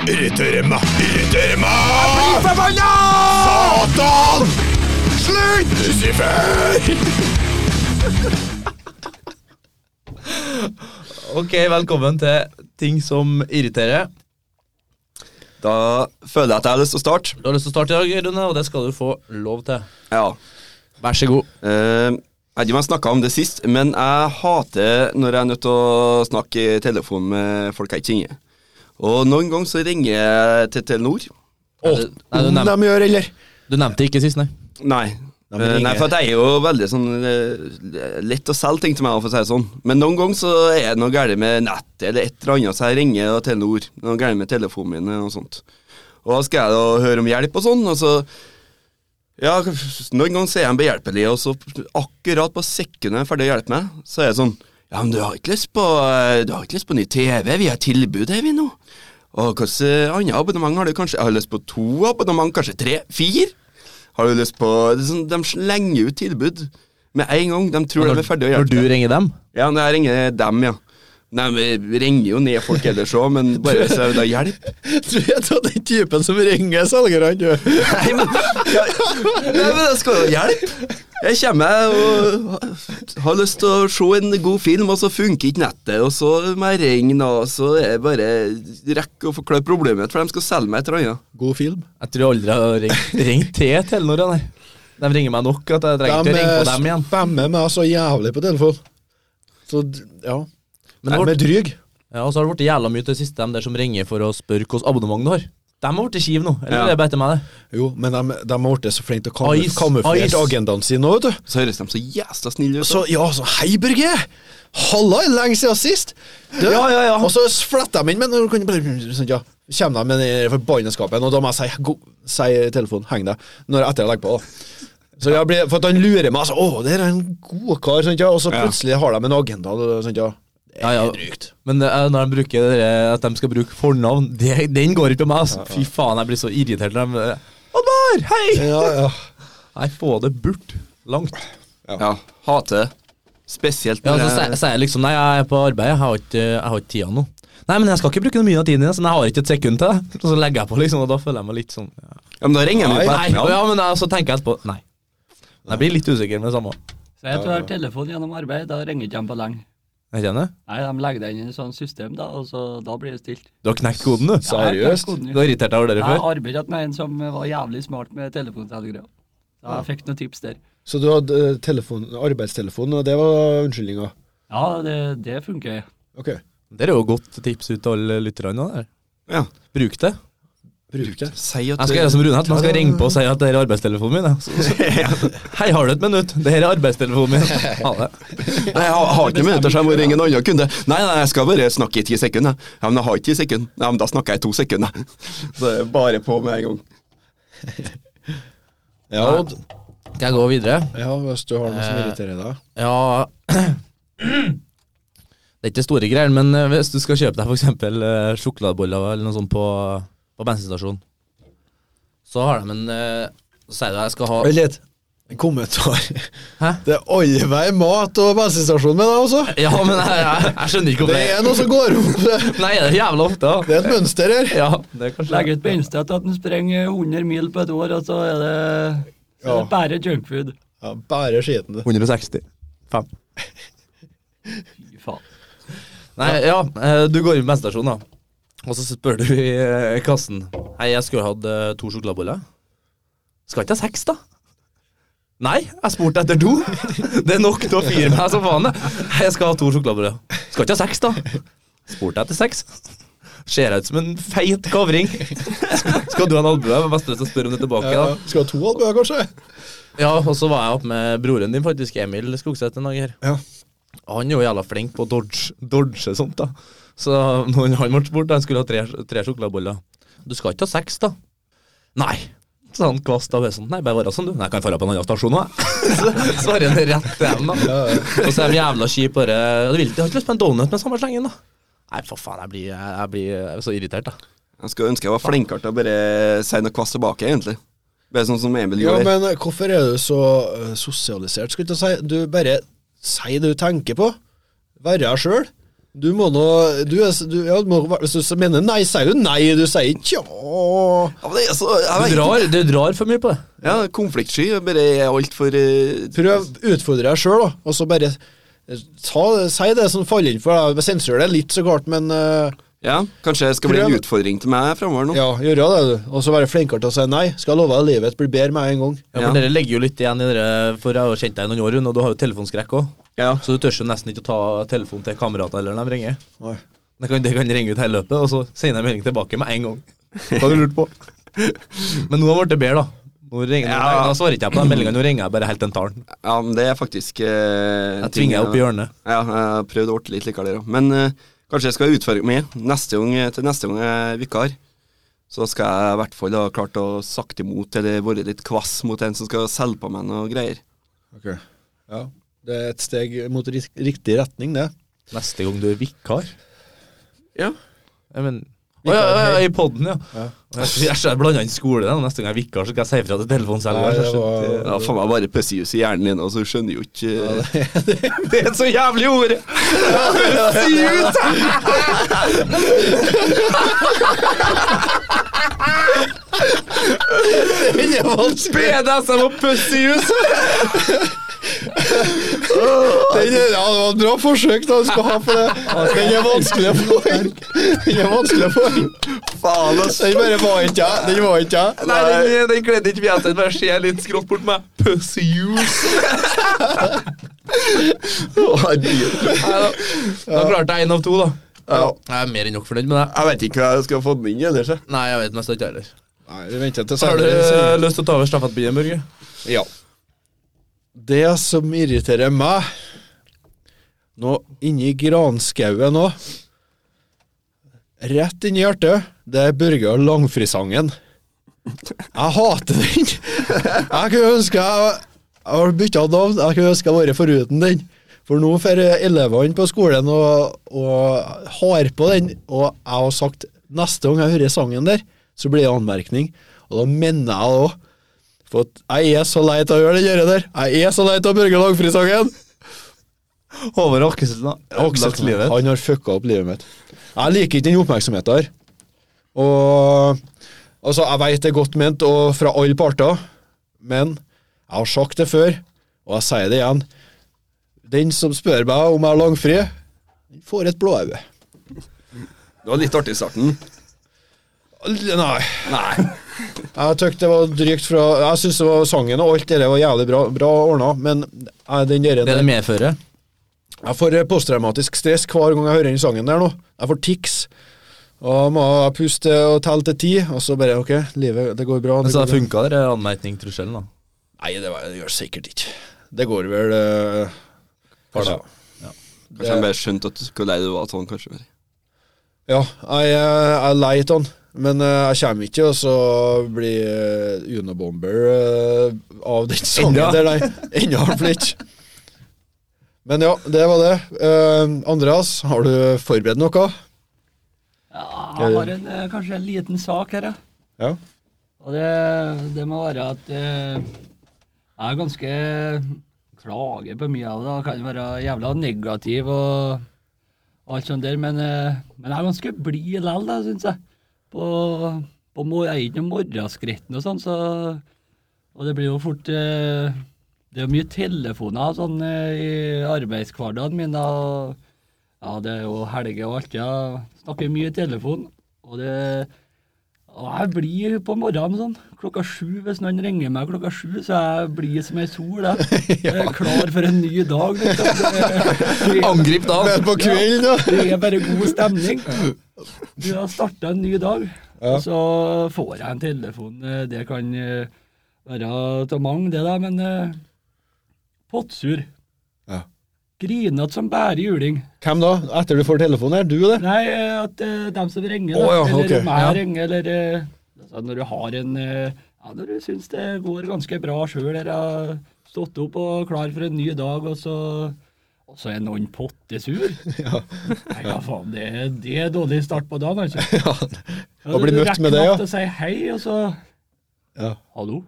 [SPEAKER 4] Irriterende! Irriterende! Jeg blir forbanna! Satan! Slutt! Lucifer!
[SPEAKER 6] Ok, velkommen til ting som irriterer.
[SPEAKER 4] Da føler jeg at jeg har lyst til å starte.
[SPEAKER 6] Du har lyst til å starte i dag, Rune, og det skal du få lov til.
[SPEAKER 4] Ja.
[SPEAKER 6] Vær så god.
[SPEAKER 4] Eh, Jeg vet ikke om jeg snakka om det sist, men jeg hater når jeg er nødt til å snakke i telefon med folk jeg ikke kjenner. Og noen ganger så ringer jeg til Telenor.
[SPEAKER 6] Nei, du, nei, du, nevnte,
[SPEAKER 1] gjør, eller?
[SPEAKER 6] du nevnte ikke sist, nei.
[SPEAKER 4] Nei.
[SPEAKER 1] men
[SPEAKER 4] Eh,
[SPEAKER 1] ringer-
[SPEAKER 4] Nei, for at jeg er jo veldig sånn eh, lett å selge ting til meg, for å si det sånn. Men noen ganger så er det noe galt med nettet eller et eller annet, så jeg ringer og Telenor. Det er Noe galt med telefonen min og sånt. Og da skal jeg da høre om hjelp og sånn, og så Ja, noen ganger så er de behjelpelige, og så akkurat på sekundet jeg er ferdig å hjelpe meg, så er det sånn Ja, men du har ikke lyst på, eh, du har ikke lyst på ny TV, vi har tilbud her, vi nå. Og hvilket annet abonnement har du kanskje? Jeg har lyst på to abonnement, kanskje tre? Fire? Har du lyst på det er sånn, De slenger ut tilbud med en gang. De tror de er ferdig å
[SPEAKER 6] Når
[SPEAKER 4] hjelpe
[SPEAKER 6] du
[SPEAKER 4] deg.
[SPEAKER 6] ringer dem.
[SPEAKER 4] Ja, når jeg ringer dem, ja. Nei, vi ringer jo ned folk ellers òg, men bare hvis jeg vil ha hjelp.
[SPEAKER 1] Du er da den typen som ringer selgerne, du.
[SPEAKER 4] Nei, men, ja, nei, men jeg skal jo ha hjelp. Jeg kommer og har lyst til å se en god film, og så funker ikke nettet, og så må jeg ringe, og så er jeg bare rekker å forklare problemet mitt, for de skal selge meg et eller annet.
[SPEAKER 1] God film.
[SPEAKER 6] Jeg tror jeg aldri jeg har ringt, ringt til Telenor, ja, nei. De eh, ringer meg nok at jeg trenger ikke å ringe på dem igjen.
[SPEAKER 1] spammer meg så jævlig på telefon. Så, d- ja.
[SPEAKER 6] Men det
[SPEAKER 1] De er
[SPEAKER 6] vart-
[SPEAKER 1] dryg.
[SPEAKER 6] Ja, og så har det blitt jævla mye til det siste, de der som ringer for å spørre hvilket abonnement du har. De har blitt kjive nå, eller
[SPEAKER 4] Ja.
[SPEAKER 6] er det bare etter meg, det?
[SPEAKER 1] Jo, men de, de har blitt så flinke til å kamuf-
[SPEAKER 6] Ice, ice.
[SPEAKER 1] kamuflere agendaen sin nå, vet du.
[SPEAKER 4] Så høres de så jævla snille ut.
[SPEAKER 1] Så, ja, så hei, Børge! Halla, er det lenge siden sist? Du,
[SPEAKER 6] Ja, ja, ja.
[SPEAKER 1] Og så fletter de inn, men når du kan sånn, ja, kommer de med den forbannetskapen, og da må jeg si, go, si i telefonen, heng deg, når jeg etter jeg legger på. da. Så jeg blir, for at han lurer meg, altså, å, det er en god kar, sånn, ja, og så plutselig har de en agenda, sånn, ja.
[SPEAKER 6] Ja, ja. Men eh, når de bruker det der, at de skal bruke fornavn, det, den går ikke på meg, altså. Fy faen, jeg blir så irritert når de eh, Oddvar, hei!
[SPEAKER 1] Ja, ja.
[SPEAKER 6] Nei, få det bort. Langt.
[SPEAKER 4] Ja, hater det. Spesielt
[SPEAKER 6] Ja,
[SPEAKER 4] når
[SPEAKER 6] så sier-
[SPEAKER 4] jeg-
[SPEAKER 6] sier jeg liksom Nei, jeg er på arbeid, jeg har ikke, jeg har ikke tida nå. Nei, men jeg skal ikke bruke mye av tiden din, så jeg har ikke et sekund til det. Og så legger jeg på, liksom, og da føler jeg meg litt sånn ja.
[SPEAKER 4] ja, men da ringer jeg meg på
[SPEAKER 6] Nei,
[SPEAKER 4] etterpå.
[SPEAKER 6] ja, men jeg, så tenker jeg etterpå Nei. Jeg blir litt usikker med det samme.
[SPEAKER 3] Si at du har telefon gjennom arbeid, da ringer ikke de på lenge.
[SPEAKER 6] Jeg kjenner
[SPEAKER 3] Nei, de legger den inn i sånn system, da, og så da blir det stilt.
[SPEAKER 6] Du har knekt koden, du.
[SPEAKER 3] Ja, jeg knekk koden,
[SPEAKER 6] Du
[SPEAKER 3] jo.
[SPEAKER 6] har irritert deg over det
[SPEAKER 3] Jeg
[SPEAKER 6] før.
[SPEAKER 3] har arbeidet med en som var jævlig smart med telefonselgere. Så jeg fikk noen tips der.
[SPEAKER 7] Så du hadde eh, telefon, arbeidstelefon, og det var unnskyldninga?
[SPEAKER 3] Ja, det, det funker.
[SPEAKER 7] Ok.
[SPEAKER 6] Det er jo et godt tips ut til alle lytterne. der.
[SPEAKER 4] Ja.
[SPEAKER 6] Bruk det.
[SPEAKER 1] Bruker.
[SPEAKER 4] Si at
[SPEAKER 6] Jeg skal gjøre som Rune, at man skal ringe på og si at det her er arbeidstelefonen min. da. Hei, har du et minutt? Det her er arbeidstelefonen min. Ha det.
[SPEAKER 4] Nei, jeg har- har ikke minutter, så jeg må ringe en annen kunde. Nei, nei, jeg skal bare snakke i ti sekunder. Ja, men jeg har ikke ti sekunder. Nei, men da snakker jeg i to sekunder. Så det er bare på med en gang.
[SPEAKER 1] Ja, Odd.
[SPEAKER 6] Skal jeg gå videre?
[SPEAKER 1] Ja, hvis du har noe som irriterer deg.
[SPEAKER 6] Ja Det er ikke store greier, men eh, hvis du skal kjøpe deg f.eks. sjokoladeboller eller noe sånt på, på bensinstasjonen, så har de en eh, Så sier du at jeg skal ha
[SPEAKER 1] Vent litt. En kommentar.
[SPEAKER 6] Hæ?
[SPEAKER 1] Det er alle vei mat og bensinstasjon med deg også.
[SPEAKER 6] Ja, men jeg, jeg, jeg skjønner ikke
[SPEAKER 1] Det er
[SPEAKER 6] hvorfor
[SPEAKER 1] noe som går opp. Det-
[SPEAKER 6] Nei, det er jævla ofte. da.
[SPEAKER 1] Det er et mønster her.
[SPEAKER 6] Ja, det er kanskje
[SPEAKER 3] Legg ut på Instat at en sprenger 100 mil på et år, og så er det, så er det bare junkfood.
[SPEAKER 1] Ja, Bare skiten, du.
[SPEAKER 6] 160. Fem.
[SPEAKER 3] Fy faen.
[SPEAKER 6] Nei, ja, eh, du går inn på bensinstasjonen, da. Og så spør du i eh, kassen Hei, jeg skulle hatt eh, to sjokoladeboller. Skal ikke ha seks, da? Nei, jeg spurte etter to. Det er nok til å fyre meg som faen. det. Hei, jeg skal ha to sjokoladeboller. Skal ikke ha seks, da? Spurte etter seks. Ser jeg ut som en feit kavring. Skal du ha en albue? Best å spørre om det tilbake, da.
[SPEAKER 1] Ja, Skal ha to albuer, kanskje?
[SPEAKER 6] Ja, og så var jeg oppe med broren din, faktisk, Emil Skogseth, en dag her.
[SPEAKER 1] Ja.
[SPEAKER 6] Han er jo jævla flink på å dodge, dodge sånt, da. Så når han ble spurt, han skulle ha tre, tre sjokoladeboller. Du skal ikke ha seks, da? Nei. Så han kvast av sånn, nei, bare være sånn, du. Nei, jeg kan dra på en annen stasjon nå, jeg. Så svarer han rett til dem, da. Og så er de jævla kjipe, bare «Ja, Du vil ikke, jeg har ikke lyst på en donut med samme slengen, da. Nei, for faen, jeg blir, jeg blir, jeg blir så irritert, da.
[SPEAKER 4] Jeg skulle ønske jeg var flinkere til å bare si noe kvass tilbake, egentlig. Bare sånn som Emil
[SPEAKER 1] Ja,
[SPEAKER 4] gjorde.
[SPEAKER 1] men eh, hvorfor er du så eh, sosialisert? Skal ikke si, Du bare si det du tenker på. Være deg sjøl. Du må nå du, er s- du, ja, du må, Hvis du s- mener nei, sier du nei. Du sier ikke ja.
[SPEAKER 4] Ja, men det er så, jeg
[SPEAKER 6] Du
[SPEAKER 4] vet ikke.
[SPEAKER 6] drar, du drar for mye på det.
[SPEAKER 4] Ja, konfliktsky. jeg Bare er altfor uh,
[SPEAKER 1] Prøv, utfordre deg sjøl, da. Og så bare eh, ta, si det som faller inn for deg. Sensur det litt, så klart, men eh,
[SPEAKER 4] Ja, kanskje det skal bli en
[SPEAKER 1] Prøv.
[SPEAKER 4] utfordring til meg framover nå.
[SPEAKER 1] ja, gjøre det, du. Og så være flinkere til å si nei. Skal jeg love deg, livet blir bedre med en gang.
[SPEAKER 6] Ja, for
[SPEAKER 4] Ja.
[SPEAKER 6] Dere legger jo litt igjen i dere, for jeg har jo kjent deg i noen år, Rune, og du har jo telefonskrekk òg.
[SPEAKER 4] Ja.
[SPEAKER 6] Så du tør jo nesten ikke å ta telefonen til kameratene eller når de ringer.
[SPEAKER 1] Nei.
[SPEAKER 6] Det kan, det kan ringe ut hele løpet, og så sender jeg melding tilbake med en gang. Hva har du lurt på? Men nå har det blitt bedre, da. Nå ringer,
[SPEAKER 4] Ja.
[SPEAKER 6] Da svarer ikke jeg på de meldingene, nå ringer jeg bare helt til en tar den.
[SPEAKER 4] ja, men det er faktisk eh,
[SPEAKER 6] Jeg
[SPEAKER 4] ting
[SPEAKER 6] tvinger deg opp i hjørnet.
[SPEAKER 4] Ja, jeg har prøvd å bli litt likere der òg. Men eh, kanskje jeg skal utfordre meg neste gang, eh, til neste gang jeg er vikar. Så skal jeg i hvert fall ha klart å sakte imot eller vært litt kvass mot en som skal selge på meg noe greier.
[SPEAKER 1] Ja. Det er et steg mot rik- riktig retning, det.
[SPEAKER 6] Neste gang du er vikar.
[SPEAKER 4] Ja.
[SPEAKER 6] Jeg men, å, ja, ja, ja, I poden, ja. Jeg, jeg, jeg blanda inn skole. da. Neste gang jeg er vikar, så skal jeg si ifra til
[SPEAKER 1] Nei,
[SPEAKER 6] telefonselgeren.
[SPEAKER 1] det
[SPEAKER 6] så skjønner
[SPEAKER 1] var-
[SPEAKER 6] jeg-
[SPEAKER 4] Ja, faen meg bare pessius i hjernen din, og så skjønner jo ikke eh, det, er et så jævlig ord! Pessius! BDSM og pessius!
[SPEAKER 1] Den, er- ja, det var et bra forsøk da du skal ha for det. Den er vanskelig å få inn. Den er vanskelig å få inn.
[SPEAKER 4] Faen, ass.
[SPEAKER 1] Den bare var ikke jeg. Den var ikke jeg.
[SPEAKER 4] Nei, den, den kledde ikke fjeset mitt, bare ser litt skrått bort meg. Pessius!
[SPEAKER 6] Da klarte jeg én av to, da.
[SPEAKER 4] Ja.
[SPEAKER 6] Jeg er mer enn nok fornøyd med det.
[SPEAKER 4] Jeg vet ikke hva jeg skulle ha fått den inn i ellers. jeg.
[SPEAKER 6] Nei, jeg vet nesten ikke heller.
[SPEAKER 1] Nei, vi venter til
[SPEAKER 6] Har du
[SPEAKER 1] senere.
[SPEAKER 6] lyst til å ta over stafettbyen, Børge?
[SPEAKER 1] Ja. Det som irriterer meg nå inni granskauen nå, rett inn i hjertet, det er Børge og Langfrisangen. Jeg hater den. Jeg kunne ønske jeg jeg har bytta navn. Jeg kunne ønske jeg vært foruten den. For nå får elevene på skolen og, og har på den, og jeg har sagt neste gang jeg hører sangen der, så blir det anmerkning. Og da mener jeg det òg. For at jeg er så lei av å gjøre det gjerdet der. Jeg er så lei av Børge Langfrisangen.
[SPEAKER 6] Håvard Akkesen har ødelagt livet.
[SPEAKER 1] Han har fucka opp livet mitt. Jeg liker ikke den oppmerksomheten her. Og altså, jeg veit det er godt ment og fra alle parter, men jeg har sagt det før, og jeg sier det igjen. Den som spør meg om jeg har langfri, den får et blåøye.
[SPEAKER 4] Det var litt artig i starten.
[SPEAKER 1] Nei.
[SPEAKER 4] Nei.
[SPEAKER 1] Jeg tykk det var drygt fra Jeg syns sangen og alt det der var jævlig bra, bra ordna, men eh, den der
[SPEAKER 6] Det det medfører.
[SPEAKER 1] Jeg får eh, posttraumatisk stress hver gang jeg hører den sangen der nå. Jeg får tics. Og må puste og telle til ti, og så bare ok, livet det går bra.
[SPEAKER 6] Men så
[SPEAKER 1] går
[SPEAKER 6] det
[SPEAKER 1] bra.
[SPEAKER 6] funka, den anmerkning-trusselen, da?
[SPEAKER 1] Nei, det, var, det gjør det sikkert ikke. Det går vel eh, kanskje-
[SPEAKER 4] Kanskje han bare skjønte at hvor lei du var av han, kanskje.
[SPEAKER 1] Ja, jeg, eh, jeg er lei av han. Men eh, jeg kommer ikke, og så blir eh, Unabomber eh, av den sangen
[SPEAKER 6] Enda.
[SPEAKER 1] der, nei. Ennå har han flitt. Men ja, det var det. Eh, Andreas, har du forberedt noe?
[SPEAKER 3] Ja, jeg har en, eh, kanskje en liten sak her, ja.
[SPEAKER 1] Ja.
[SPEAKER 3] Og det, det må være at eh, jeg er ganske klager på mye av det. Jeg kan være jævla negativ og alt sånt der, men, eh, men jeg er ganske blid likevel, syns jeg. På, på, mor- jeg er ikke noe morgenskretten og sånn, så Og det blir jo fort eh, Det er mye telefoner og sånn eh, i arbeidshverdagen min, da. og ja, det er jo helger og alt, ja. Snakker mye i telefon. Og det og jeg blir på morgenen sånn klokka sju. Hvis noen ringer meg klokka sju, så jeg blir som ei sol. Jeg. jeg er klar for en ny dag. Liksom. Det,
[SPEAKER 6] Angrip da!
[SPEAKER 1] Men på kvelden, da?
[SPEAKER 3] det er bare god stemning. Du har starta en ny dag, og så får jeg en telefon. Eh, Det kan eh, være av mange, det der, men eh, pottsur.
[SPEAKER 1] Ja.
[SPEAKER 3] Grinete som bare juling.
[SPEAKER 1] Hvem da? Etter du får telefonen her? Du, det?
[SPEAKER 3] Nei, eh, at eh, dem som ringer, da,
[SPEAKER 1] Å, ja,
[SPEAKER 3] eller
[SPEAKER 1] ok,
[SPEAKER 3] om jeg
[SPEAKER 1] ja.
[SPEAKER 3] ringer, eller eh, altså, når du har en eh, ja, Når du syns det går ganske bra sjøl, eller har stått opp og klar for en ny dag, og så, og så er noen pottesur. Nei, ja, faen, det, det er dårlig start på dagen, altså.
[SPEAKER 1] Ja.
[SPEAKER 3] Ja,
[SPEAKER 1] Og bli
[SPEAKER 3] du
[SPEAKER 1] møtt
[SPEAKER 3] rekker
[SPEAKER 1] med det,
[SPEAKER 3] knapt
[SPEAKER 1] ja.
[SPEAKER 3] å si hei, og så
[SPEAKER 1] Ja.
[SPEAKER 3] Hallo,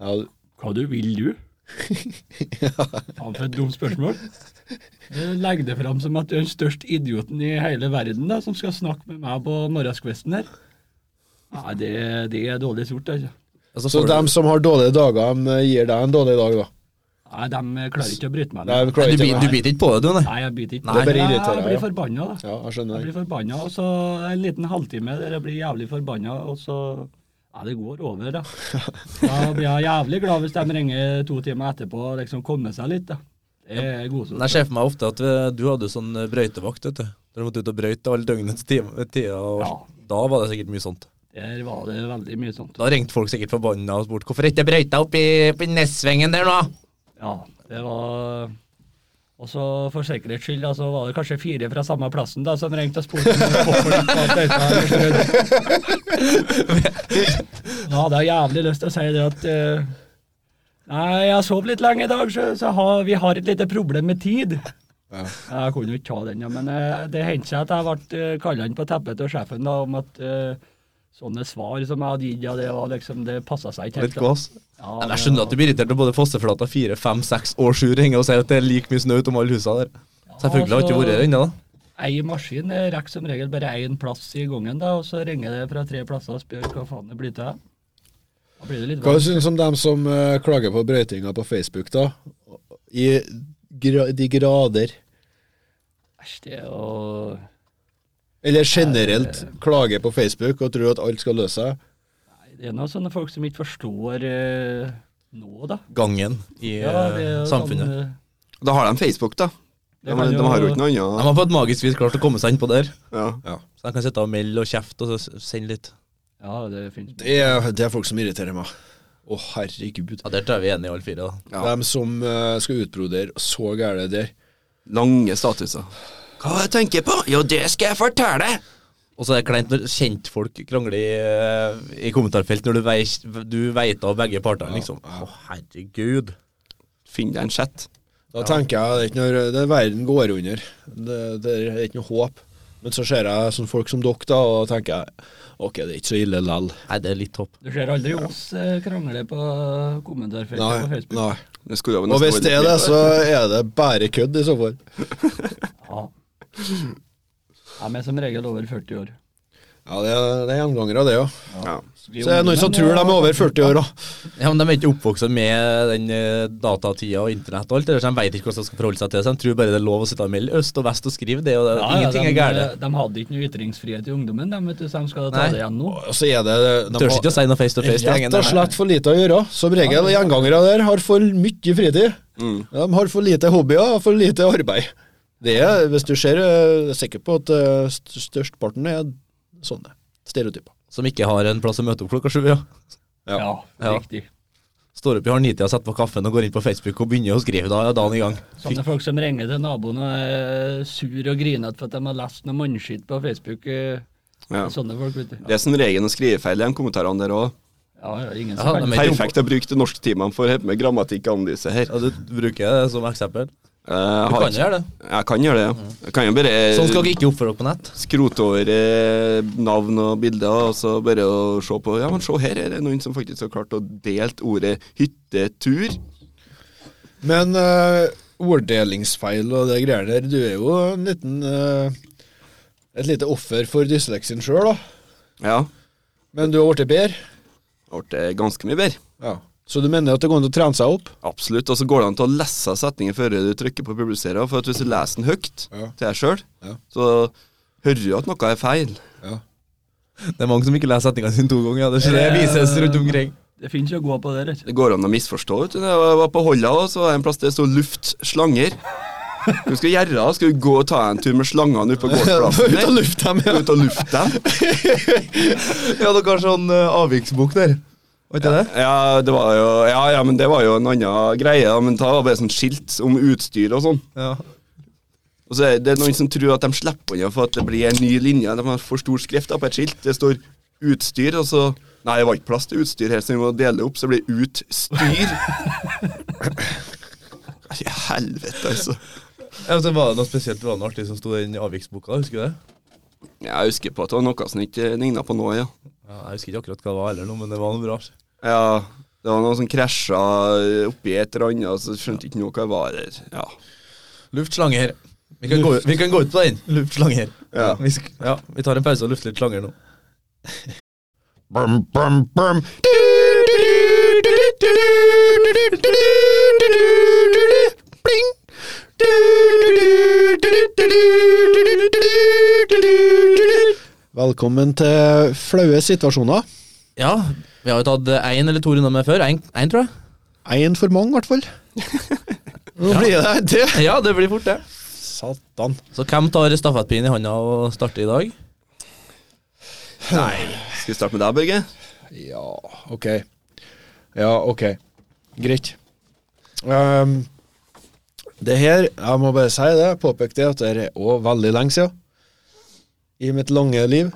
[SPEAKER 1] ja.
[SPEAKER 3] hva du vil du? Faen, for et dumt spørsmål. Eh, Legg det fram som at du er den største idioten i hele verden da, som skal snakke med meg på morgenskvisten her. Nei, det, det er dårlig sort, altså.
[SPEAKER 6] Og så
[SPEAKER 1] Så
[SPEAKER 6] får du-
[SPEAKER 1] dem som har dårlige dager, de gir deg en dårlig dag, da?
[SPEAKER 3] Nei, de klarer ikke å bryte meg
[SPEAKER 1] Nei,
[SPEAKER 3] ned.
[SPEAKER 1] vi klarer
[SPEAKER 6] Du
[SPEAKER 1] ikke
[SPEAKER 6] biter- Du
[SPEAKER 1] det.
[SPEAKER 6] biter ikke på det, du, nei?
[SPEAKER 3] Nei, jeg biter ikke.
[SPEAKER 6] Nei, det
[SPEAKER 1] bare
[SPEAKER 3] Nei,
[SPEAKER 1] irriterer
[SPEAKER 3] jeg
[SPEAKER 1] deg,
[SPEAKER 3] blir
[SPEAKER 1] ja.
[SPEAKER 3] forbanna, da.
[SPEAKER 1] Ja, jeg
[SPEAKER 3] Jeg
[SPEAKER 1] skjønner.
[SPEAKER 3] blir forbanna, og så en liten halvtime der jeg blir jævlig forbanna, og så Ja, det går over, da. Da blir jeg jævlig glad hvis de ringer to timer etterpå og liksom kommer seg litt, da. Det er godsort.
[SPEAKER 6] Jeg ser for meg ofte at eh, du hadde jo sånn eh, brøytevakt, vet du. Der du måtte ut og brøyte alle døgnets tim- tider. og-
[SPEAKER 3] Ja.
[SPEAKER 6] Da var det sikkert mye sånt.
[SPEAKER 3] Der var det veldig mye sånt.
[SPEAKER 6] Da ringte folk sikkert forbanna og spurte hvorfor ikke jeg brøyta opp i, opp i Nessvengen der nå.
[SPEAKER 3] Ja, det var Og så for sikkerhets skyld, da, så var det kanskje fire fra samme plassen da, som ringte og spurte om det var folk på fløyta eller strødd. Da hadde jeg jævlig lyst til å si det at eh, Nei, jeg sov litt lenge i dag, så, så har, vi har et lite problem med tid. Jeg kunne jo ikke ta den, ja, men eh, det hendte seg at jeg ble eh, kalla inn på teppet av sjefen da, om at eh, sånne svar som jeg hadde gitt, ja, det, var liksom, det passa seg ikke.
[SPEAKER 6] Litt
[SPEAKER 3] helt, da.
[SPEAKER 6] gås.
[SPEAKER 3] Ja,
[SPEAKER 6] Men
[SPEAKER 3] det
[SPEAKER 6] Jeg skjønner
[SPEAKER 3] var-
[SPEAKER 6] at du blir irritert når både Fosseflata 4, 5, 6 og 7 ringer og sier at det er like mye snø utom alle husene der. Selvfølgelig har det ikke
[SPEAKER 3] altså-
[SPEAKER 6] vært der ennå, da.
[SPEAKER 3] Ei maskin eh, rekker som regel bare én plass i gangen, da, og så ringer det fra tre plasser og spør hva faen det blir til. Da blir det litt
[SPEAKER 1] Hva
[SPEAKER 3] vanskelig.
[SPEAKER 1] syns du om dem som eh, klager på brøytinga på Facebook, da? I gra de grader.
[SPEAKER 3] Æsj, det er jo
[SPEAKER 1] Eller generelt klager på Facebook og tror at alt skal løse seg.
[SPEAKER 3] Nei, Det er noen sånne folk som ikke forstår eh, nå, da.
[SPEAKER 6] Gangen i
[SPEAKER 3] det
[SPEAKER 6] eh,
[SPEAKER 3] er jo
[SPEAKER 6] samfunnet.
[SPEAKER 3] sånn, eh,
[SPEAKER 4] Da har de Facebook, da.
[SPEAKER 3] Det
[SPEAKER 4] De,
[SPEAKER 3] kan
[SPEAKER 4] de
[SPEAKER 3] jo-
[SPEAKER 4] har jo ikke noe
[SPEAKER 6] De
[SPEAKER 4] annet.
[SPEAKER 6] har på et magisk vis klart å komme seg innpå der.
[SPEAKER 4] Ja.
[SPEAKER 6] Så de kan sitte og melde og kjefte og så s- sende litt.
[SPEAKER 3] ja, det finnes
[SPEAKER 1] Det er, det er folk som irriterer meg. Å, herregud.
[SPEAKER 6] Ja, Der tror jeg vi er enige, alle fire. da.
[SPEAKER 4] Ja.
[SPEAKER 1] Dem som eh, skal utbrodere så gærent der.
[SPEAKER 4] Lange statuser. Hva jeg tenker på? Jo, det skal jeg fortelle!
[SPEAKER 6] Og så er det kleint når kjentfolk krangler i, eh, i kommentarfelt når du, veis, du veit av begge partene, liksom. Å, herregud.
[SPEAKER 4] Finn deg en chat.
[SPEAKER 1] Da tenker jeg det er ikke noe, det er verden går under. Det, det er ikke noe håp. Men så ser jeg sånn folk som dere, da, og tenker jeg ok, det er ikke så ille lell.
[SPEAKER 6] Nei, det er litt topp.
[SPEAKER 3] Du ser aldri oss eh, krangle på
[SPEAKER 1] Nei,
[SPEAKER 3] kommentarfeltet på Facebook.
[SPEAKER 1] nei.
[SPEAKER 4] Det skulle jo
[SPEAKER 1] Og
[SPEAKER 4] nesten
[SPEAKER 1] hvis det er
[SPEAKER 4] vært
[SPEAKER 1] det,
[SPEAKER 4] litt
[SPEAKER 1] så er det bare kødd, i så fall.
[SPEAKER 3] Ja. De er som regel over 40 år.
[SPEAKER 1] Ja, det er, det er gjengangere, det òg.
[SPEAKER 4] bedre. Ja.
[SPEAKER 1] Så er det noen som tror
[SPEAKER 3] eh,
[SPEAKER 1] de er over 40 år òg.
[SPEAKER 6] Ja, men De er ikke oppvokst med den eh, datatida og internett og alt det der, så de veit ikke hvordan de skal forholde seg til det. Så de tror bare det er lov å sitte og melde øst og vest og skrive det, og det, ingenting
[SPEAKER 3] de,
[SPEAKER 6] er
[SPEAKER 3] eh,
[SPEAKER 6] gærent.
[SPEAKER 3] de hadde ikke noe ytringsfrihet i ungdommen, de, vet du, så de skal ta
[SPEAKER 6] Nei.
[SPEAKER 3] det igjen nå.
[SPEAKER 1] Og så er det de
[SPEAKER 6] Tør ikke å si noe face to face til
[SPEAKER 1] har
[SPEAKER 6] gjengen.
[SPEAKER 1] rett og slett for lite å gjøre. Som regel gjengangere der har for mye fritid. De har for lite hobbyer og for lite arbeid. Det er, hvis du ser, eh, jeg er sikker på at eh, st- størsteparten er sånne stereotyper.
[SPEAKER 6] Som ikke har en plass å møte opp klokka sju. Ja.
[SPEAKER 1] Ja.
[SPEAKER 3] Ja,
[SPEAKER 6] Ja.
[SPEAKER 3] riktig.
[SPEAKER 6] Står opp i halv ni-tida, setter på kaffen og går inn på Facebook og begynner å skrive. Da er dagen i gang.
[SPEAKER 3] Sånne folk som ringer til naboen og er sur og grinete for at de har lest noe mannskitt på Facebook. eh,
[SPEAKER 4] Ja.
[SPEAKER 3] Sånne folk, vet du.
[SPEAKER 4] Det er som regel noen skrivefeil i de kommentarene der òg.
[SPEAKER 3] Ja, ja, ingen
[SPEAKER 6] Ja,
[SPEAKER 3] som kan
[SPEAKER 6] de er ikke
[SPEAKER 4] Perfekt å bruke norsktimene for å hjelpe med grammatikkanalyse her.
[SPEAKER 6] Ja, du bruker det som eksempel.
[SPEAKER 4] Eh, jeg
[SPEAKER 6] Du
[SPEAKER 4] har
[SPEAKER 6] kan
[SPEAKER 4] ikke-
[SPEAKER 6] gjøre det.
[SPEAKER 4] Jeg kan gjøre det, ja. Jeg kan jo bare
[SPEAKER 6] Sånn skal dere ikke oppføre dere på nett.
[SPEAKER 4] skrote over eh, navn og bilder, og så bare å se på Ja, men se her, er det noen som faktisk har klart å delt ordet hyttetur?
[SPEAKER 1] Men eh, orddelingsfeil og det greiene der, du er jo en liten eh, Et lite offer for dysleksien sjøl, da.
[SPEAKER 4] Ja.
[SPEAKER 1] Men du har blitt bedre.
[SPEAKER 4] Det ble eh, ganske mye bedre.
[SPEAKER 1] Ja. Så du mener at det går an å trene seg opp?
[SPEAKER 4] Absolutt. Og så går det an til å lese setningen før du trykker på publisere. For at hvis du leser den høyt
[SPEAKER 1] Ja.
[SPEAKER 4] til deg sjøl,
[SPEAKER 1] Ja.
[SPEAKER 4] så hører du at noe er feil.
[SPEAKER 6] Det er mange som ikke leser setningene sine to ganger. ja. Det, skjer, det vises rundt omkring.
[SPEAKER 3] Det finnes jo å gå på det, rett.
[SPEAKER 4] Det går an å misforstå. Vet du. Når jeg var på Holla, også, så var det en plass der det sto 'luftslanger'. Hva skal du gjøre? da? Skal du gå og ta en tur med slangene ut på gårdsplassen?
[SPEAKER 1] Ut av lufta med
[SPEAKER 4] Ut og lufte dem?
[SPEAKER 6] Ja, dere har sånn uh, avviksbok der. Var ikke det?
[SPEAKER 4] Ja, det var jo, ja, ja, men det var jo en annen greie. da, Men da var det bare sånn skilt om utstyr og sånn.
[SPEAKER 6] Ja.
[SPEAKER 4] Og så er det noen som tror at de slipper unna for at det blir en ny linje. De har for stor skrift da på et skilt. Det står 'utstyr', og så Nei, det var ikke plass til utstyr her, så vi må dele det opp, så det blir 'utstyr'. I helvete, altså.
[SPEAKER 6] Ja, så var det noe spesielt var det noe artig som sto i den avviksboka? Husker du det?
[SPEAKER 4] Jeg husker på at det var noe som ikke ligna på noe, ja.
[SPEAKER 6] Ja, jeg husker ikke akkurat hva det var heller, nå, men det var noe bra.
[SPEAKER 4] Ja, det var noe som krasja oppi et eller annet, så skjønte ikke noe hva det var der. Ja.
[SPEAKER 6] Luftslanger. Vi kan, gå, vi kan gå ut på den. Luftslanger.
[SPEAKER 4] Ja.
[SPEAKER 6] Vi, sk ja, vi tar en pause og lufter litt slanger nå.
[SPEAKER 1] Velkommen til flaue situasjoner.
[SPEAKER 6] Ja, vi har jo tatt én eller to runder med før. Én, tror jeg.
[SPEAKER 1] Én for mange, i hvert fall. Nå blir det det.
[SPEAKER 6] Ja, det blir fort, det.
[SPEAKER 1] Satan.
[SPEAKER 6] Så hvem tar stafettpinnen i handa og starter i dag?
[SPEAKER 4] Skal vi starte med deg, Børge?
[SPEAKER 1] Ja, ok. Ja, ok. Greit. Ehm, det her, jeg må bare si det, påpeke det, at det her er òg veldig lenge siden. I mitt lange liv.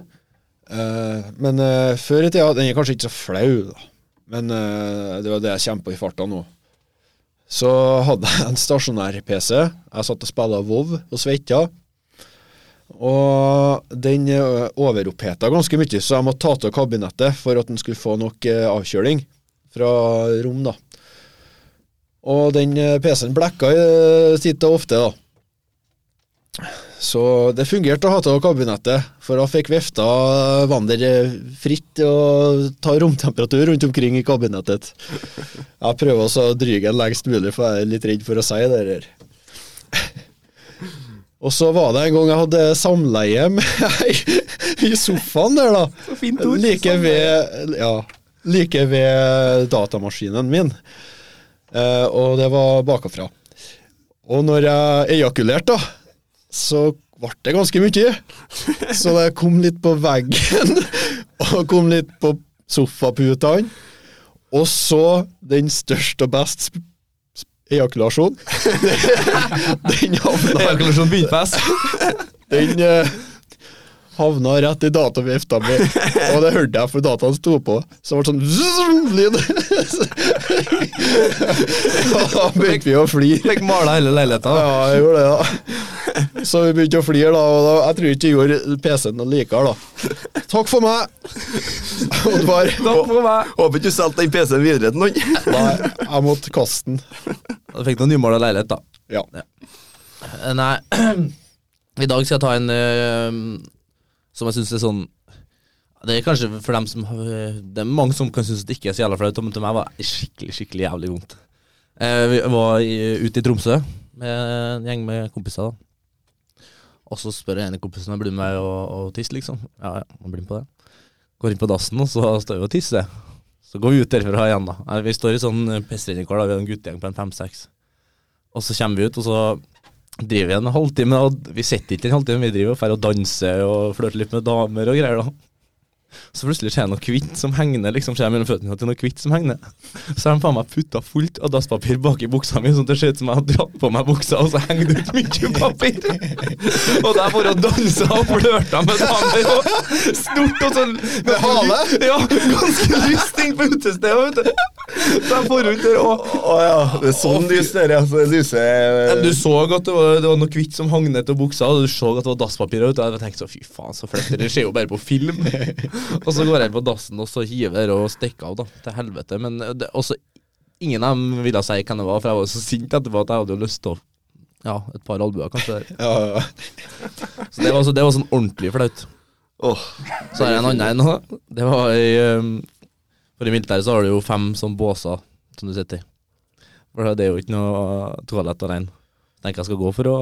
[SPEAKER 1] Eh, men eh, før i tida Den er kanskje ikke så flau, da. Men eh, det var det jeg kjempa i farta nå. Så hadde jeg en stasjonær-PC. Jeg satt og spilte Vov og svetta. Og den eh, overoppheta ganske mye, så jeg måtte ta til kabinettet for at den skulle få nok eh, avkjøling fra rom, da. Og den eh, PC-en blekka eh, titt og ofte, da. Så det fungerte å ha til kabinettet, for da fikk vifta vandre fritt og ta romtemperatur rundt omkring i kabinettet. Jeg prøver også å dryge den lengst mulig, for jeg er litt redd for å si det her. Og så var det en gang jeg hadde samleie med ei i sofaen der, da. Så fint ord. Like ved, ja, like ved datamaskinen min. Eh, og det var bakafra. Og når jeg ejakulerte, da, så ble det ganske mye. Så det kom litt på veggen, og kom litt på sofaputene. Og så den største og best sp- sp- ejakulasjonen. Den havna
[SPEAKER 6] Ejakulasjon bindfest.
[SPEAKER 1] den eh, havna rett i datavifta mi, og det hørte jeg, for dataen sto på. Så det ble sånn zoom-lyd. Og da begynte vi å flire.
[SPEAKER 6] Fikk mala hele leiligheta.
[SPEAKER 1] Ja, jeg gjorde det, da. Så vi begynte å flire, da. Og da, jeg tror ikke jeg gjorde PC-en noe likere, da. Takk for meg, Oddvar.
[SPEAKER 4] Håper ikke du solgte den PC-en videre til noen.
[SPEAKER 1] Nei, jeg måtte kaste den.
[SPEAKER 6] Du fikk noen nymala leilighet, da.
[SPEAKER 1] Ja.
[SPEAKER 6] Eh, Nei, i dag skal jeg ta en eh, som jeg syns er sånn Det er kanskje for dem som har- Det er mange som kan synes det ikke er så jævla flaut, men til meg var det skikkelig, skikkelig jævlig vondt. Eh, Vi var i- ute i Tromsø med en gjeng med kompiser. da Og så spør jeg en av kompisene om jeg blir med og, og tisse, liksom. Ja, ja, han blir med på det. Går inn på dassen, og så står vi og tisser. eh, Så går vi ut derfra igjen, da. Eh, Vi står i sånn pissrennekår, da. Vi er en guttegjeng på en fem-seks. Og så kommer vi ut, og så driver vi en halvtime. Og vi sitter ikke en halvtime, vi driver og drar og danser og flørter litt med damer og greier. da. Så plutselig ser jeg noe hvitt som henger ned. liksom ser jeg mellom føttene at det er noe hvitt som henger ned. Så har de faen meg putta fullt av dasspapir bak i buksa mi, sånn at det ser ut som jeg har dratt på meg buksa, og så henger det ut mye papir. Og der bare dansa og flørta med damer og snort og sånn. Med hale? Ja, ganske lyst inn på utestedet, vet du. Så jeg får rundt der og
[SPEAKER 4] Å ja. Det er sånn lyser, altså. Det lyser
[SPEAKER 6] men du så at det var, det var noe hvitt som hang ned til buksa, og du så at det var dasspapir ute. Og jeg tenkte så, fy faen, så flett, det skjer jo bare på film. og så går jeg inn på dassen og så hiver og stikker av, da. Til helvete. Men eh, det, også, ingen av dem ville si hvem det var, for jeg var så sint etterpå at jeg hadde jo lyst til å Ja, et par albuer, kanskje. Der.
[SPEAKER 1] Ja, ja.
[SPEAKER 6] Så det var, så, det var sånn ordentlig flaut.
[SPEAKER 4] Åh,
[SPEAKER 6] Så er det en annen en òg. Det var i ehm, For i militæret så har du jo fem sånn båser som du sitter i. For det er jo ikke noe toalett alene. Tenker jeg skal gå for å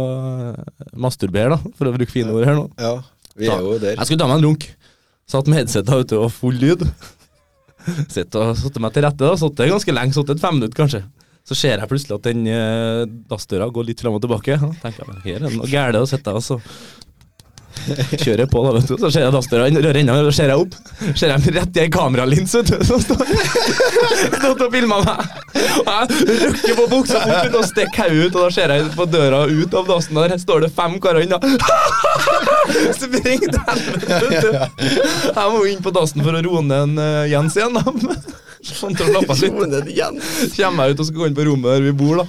[SPEAKER 6] eh, masturbere, da. For å bruke fine ord her nå.
[SPEAKER 1] ja. Vi er jo der.
[SPEAKER 6] Jeg skulle ta meg en runk. Satt med headsetet ute og full lyd. Sitt og satte meg til rette. da, Satt det ganske lenge, satt et fem minutter kanskje. Så ser jeg plutselig at den eh, dassdøra går litt fram og tilbake. Da tenker jeg, men her er det noe gærent å sitte og så kjører jeg på, da, vet du. Så ser jeg dassdøra inn- rører ennå, og så ser jeg opp. Ser jeg rett i ei kameralins, vet du. Som står stått og filma meg. Og jeg rykker på buksa bort ut og stikker hodet ut, og da ser jeg på døra ut av dassen, og der står det fem karer inne. Spring til helvete! vet du. Jeg må jo inn på dassen for å roe ned en, eh, Jens igjen, da. Sånn til å slappe av litt. Kommer jeg ut og skal gå inn på rommet der vi bor, da.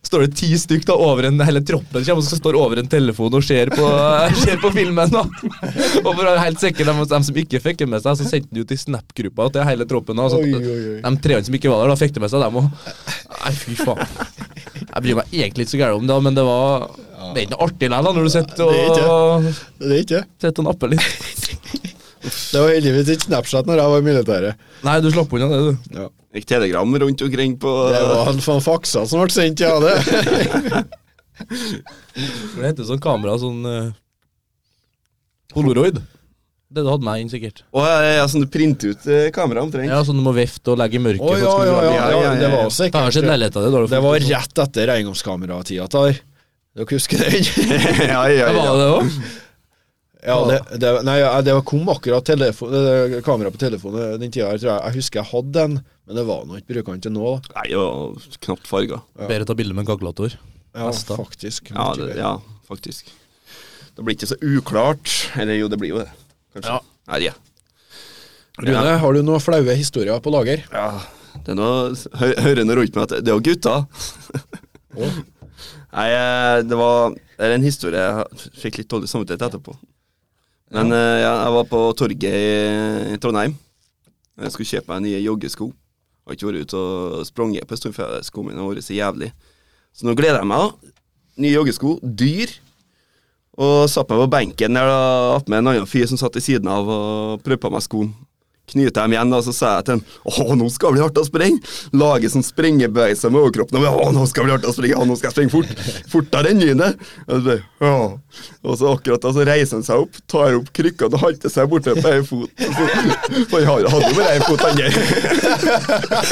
[SPEAKER 6] Står det ti stykk da over en, hele troppen kommer og skal står over en telefon og ser på, ser på filmen. da Og for å være helt sikker, de, de som ikke fikk det med seg, så sendte de jo til Snap-gruppa til hele troppen. da, sånn at De treene som ikke var der, da fikk det med seg dem òg. Nei, fy faen. Jeg bryr meg egentlig ikke så gærent om det, men det var Det er ikke noe artig likevel, da, når du sitter og
[SPEAKER 1] Det er ikke det.
[SPEAKER 6] Sitter og napper litt.
[SPEAKER 1] Det var heldigvis ikke Snapchat når jeg var i militæret.
[SPEAKER 6] Nei, du slapp unna det, du.
[SPEAKER 4] Gikk telegram rundt omkring på
[SPEAKER 1] Det var han faen faksa som ble sendt, ja, det.
[SPEAKER 6] Det heter sånn kamera, sånn eh, Polaroid. Det du hadde meg inn, sikkert.
[SPEAKER 4] Å ja, ja, ja, sånn du printer ut eh, kameraet omtrent.
[SPEAKER 6] Ja, sånn du må vifte og legge i mørket.
[SPEAKER 1] Å ja, ja, ja, ja, det var
[SPEAKER 6] Det har
[SPEAKER 1] sikkert
[SPEAKER 6] skjedd leiligheten din. da har du
[SPEAKER 1] Det
[SPEAKER 6] fått-
[SPEAKER 1] var rett etter eiendomskameratida. Tar. Dere husker den?
[SPEAKER 4] ja, ja,
[SPEAKER 6] Ja, var det det også?
[SPEAKER 1] Ja, det, det, nei, ja, det kom akkurat telefon, eh, kamera på telefonen den tida her, tror jeg. Jeg husker jeg hadde den, men det var nå ikke bruker den til nå. da.
[SPEAKER 4] Nei, det var knapt farga.
[SPEAKER 6] Bedre ta bilde med en kalkulator.
[SPEAKER 1] Ja,
[SPEAKER 6] Neste.
[SPEAKER 1] faktisk.
[SPEAKER 4] Ja, det- ja, faktisk. Det blir ikke så uklart. Eller jo, det blir jo det. Kanskje.
[SPEAKER 6] Ja.
[SPEAKER 4] Nei, ja.
[SPEAKER 1] Rune, har du noen flaue historier på lager?
[SPEAKER 4] ja. Det er noe hø hørende rundt meg at det er jo gutta. Nei, eh, det var Det er en historie jeg har- fikk litt dårlig samvittighet etterpå. Men eh, ja, jeg var på torget i, i Trondheim. Jeg skulle kjøpe meg nye joggesko. Har ikke vært ute og sprunget på en stund, for skoene mine har vært så jævlig. Så nå gleder jeg meg. da. Nye joggesko, dyr. Og satt meg på benken der da, opp med en annen fyr som satt i siden av og prøvde på meg skoen. Knyter dem igjen, og så sa jeg til han Å, nå skal det bli hardt å sprenge! Lager sånn sprengebevegelser med overkroppen. Og, Å, nå skal det bli hardt å sprenge! Å, nå skal jeg sprenge fort! Fortere enn lynet! Og så bare, «Å». Og så akkurat da så reiser han seg opp, tar opp krykkene og halter seg bortover på én fot. Så- For han har- hadde jo bare én fot, han der.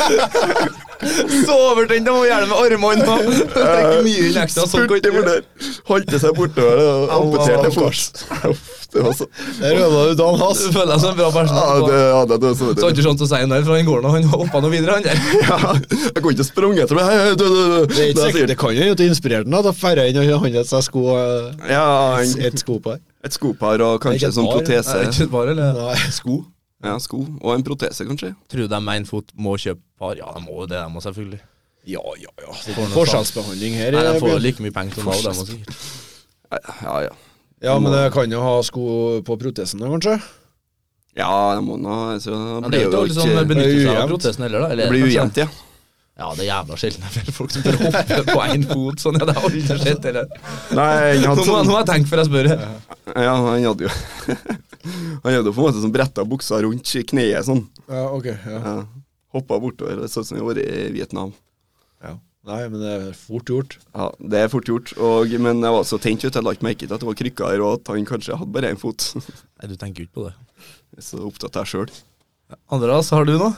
[SPEAKER 6] Så overtent! Jeg må gjerne med armene nå! Trekke mye inn ekstra. Sånn går
[SPEAKER 4] Spurte
[SPEAKER 6] ikke
[SPEAKER 4] hvor
[SPEAKER 6] det.
[SPEAKER 4] der. Halte seg bortover og
[SPEAKER 6] Au, au, au,
[SPEAKER 4] amputerte fort. Uff, Det var så
[SPEAKER 1] Der ødela du dagen hans.
[SPEAKER 6] Du føler deg som en bra person.
[SPEAKER 4] Ja, det, ja, det, det, så,
[SPEAKER 6] Så har ikke sånn til å si noe, for han går nå, han hoppa nå videre, han der.
[SPEAKER 4] ja, jeg kunne ikke sprunget etter meg. Hei, hei, du, du, du.
[SPEAKER 1] Det, er ikke
[SPEAKER 4] Da sier
[SPEAKER 1] sikkert, det kan jo ikke inspirere den at jeg færre inn og handlet seg sko
[SPEAKER 4] den, Ja,
[SPEAKER 1] eh,
[SPEAKER 4] en,
[SPEAKER 1] et skopar.
[SPEAKER 4] et skopar og
[SPEAKER 1] Det er
[SPEAKER 4] kanskje
[SPEAKER 1] ikke
[SPEAKER 4] en sånn
[SPEAKER 1] et par,
[SPEAKER 4] protese.
[SPEAKER 6] Er det ikke et par, eller?
[SPEAKER 1] Nei.
[SPEAKER 6] Sko?
[SPEAKER 4] Ja, sko og en protese, kanskje.
[SPEAKER 6] Tror du de med én fot må kjøpe par? Ja, de må jo det, de må selvfølgelig.
[SPEAKER 1] Ja, ja, ja.
[SPEAKER 6] Får noe
[SPEAKER 1] Forskjellsbehandling her. eh,
[SPEAKER 6] Nei, De får jo
[SPEAKER 1] Bjørn.
[SPEAKER 6] like mye penger som meg, de må sikkert.
[SPEAKER 4] Ja, ja.
[SPEAKER 1] Ja, men jeg kan jo ha sko på protesen da, kanskje?
[SPEAKER 4] Ja, jeg må nå altså,
[SPEAKER 6] Men det er jo ikke alle som
[SPEAKER 4] ikke-
[SPEAKER 6] benytter seg av
[SPEAKER 1] ujevnt.
[SPEAKER 6] protesten heller, da.
[SPEAKER 4] Det
[SPEAKER 6] Eller,
[SPEAKER 4] blir
[SPEAKER 6] kanskje-
[SPEAKER 4] ujevnt, ja.
[SPEAKER 6] Ja, det er jævla sjelden jeg ser folk som tør å hoppe på én fot. Sånn, ja, det har aldri skjedd. Eller.
[SPEAKER 4] Nei, han
[SPEAKER 6] Nå
[SPEAKER 4] hadde,
[SPEAKER 6] må nå
[SPEAKER 4] sånn,
[SPEAKER 6] må jeg tenke før jeg spør.
[SPEAKER 4] ja, han hadde jo Han hadde jo på en måte sånn bretta buksa rundt i kneet sånn.
[SPEAKER 1] Ja, ok. Ja.
[SPEAKER 4] Ja. Hoppa bortover. Det så ut som vi var i Vietnam.
[SPEAKER 1] Ja. Nei, men det er fort gjort.
[SPEAKER 4] Ja, Det er fort gjort, og, men jeg var så tent ut. Jeg la ikke merke til at det var krykker, og at han kanskje hadde bare én fot.
[SPEAKER 6] Nei, du tenker jo ikke på det.
[SPEAKER 4] Jeg er så opptatt av jeg sjøl.
[SPEAKER 6] Andreas, har du noe?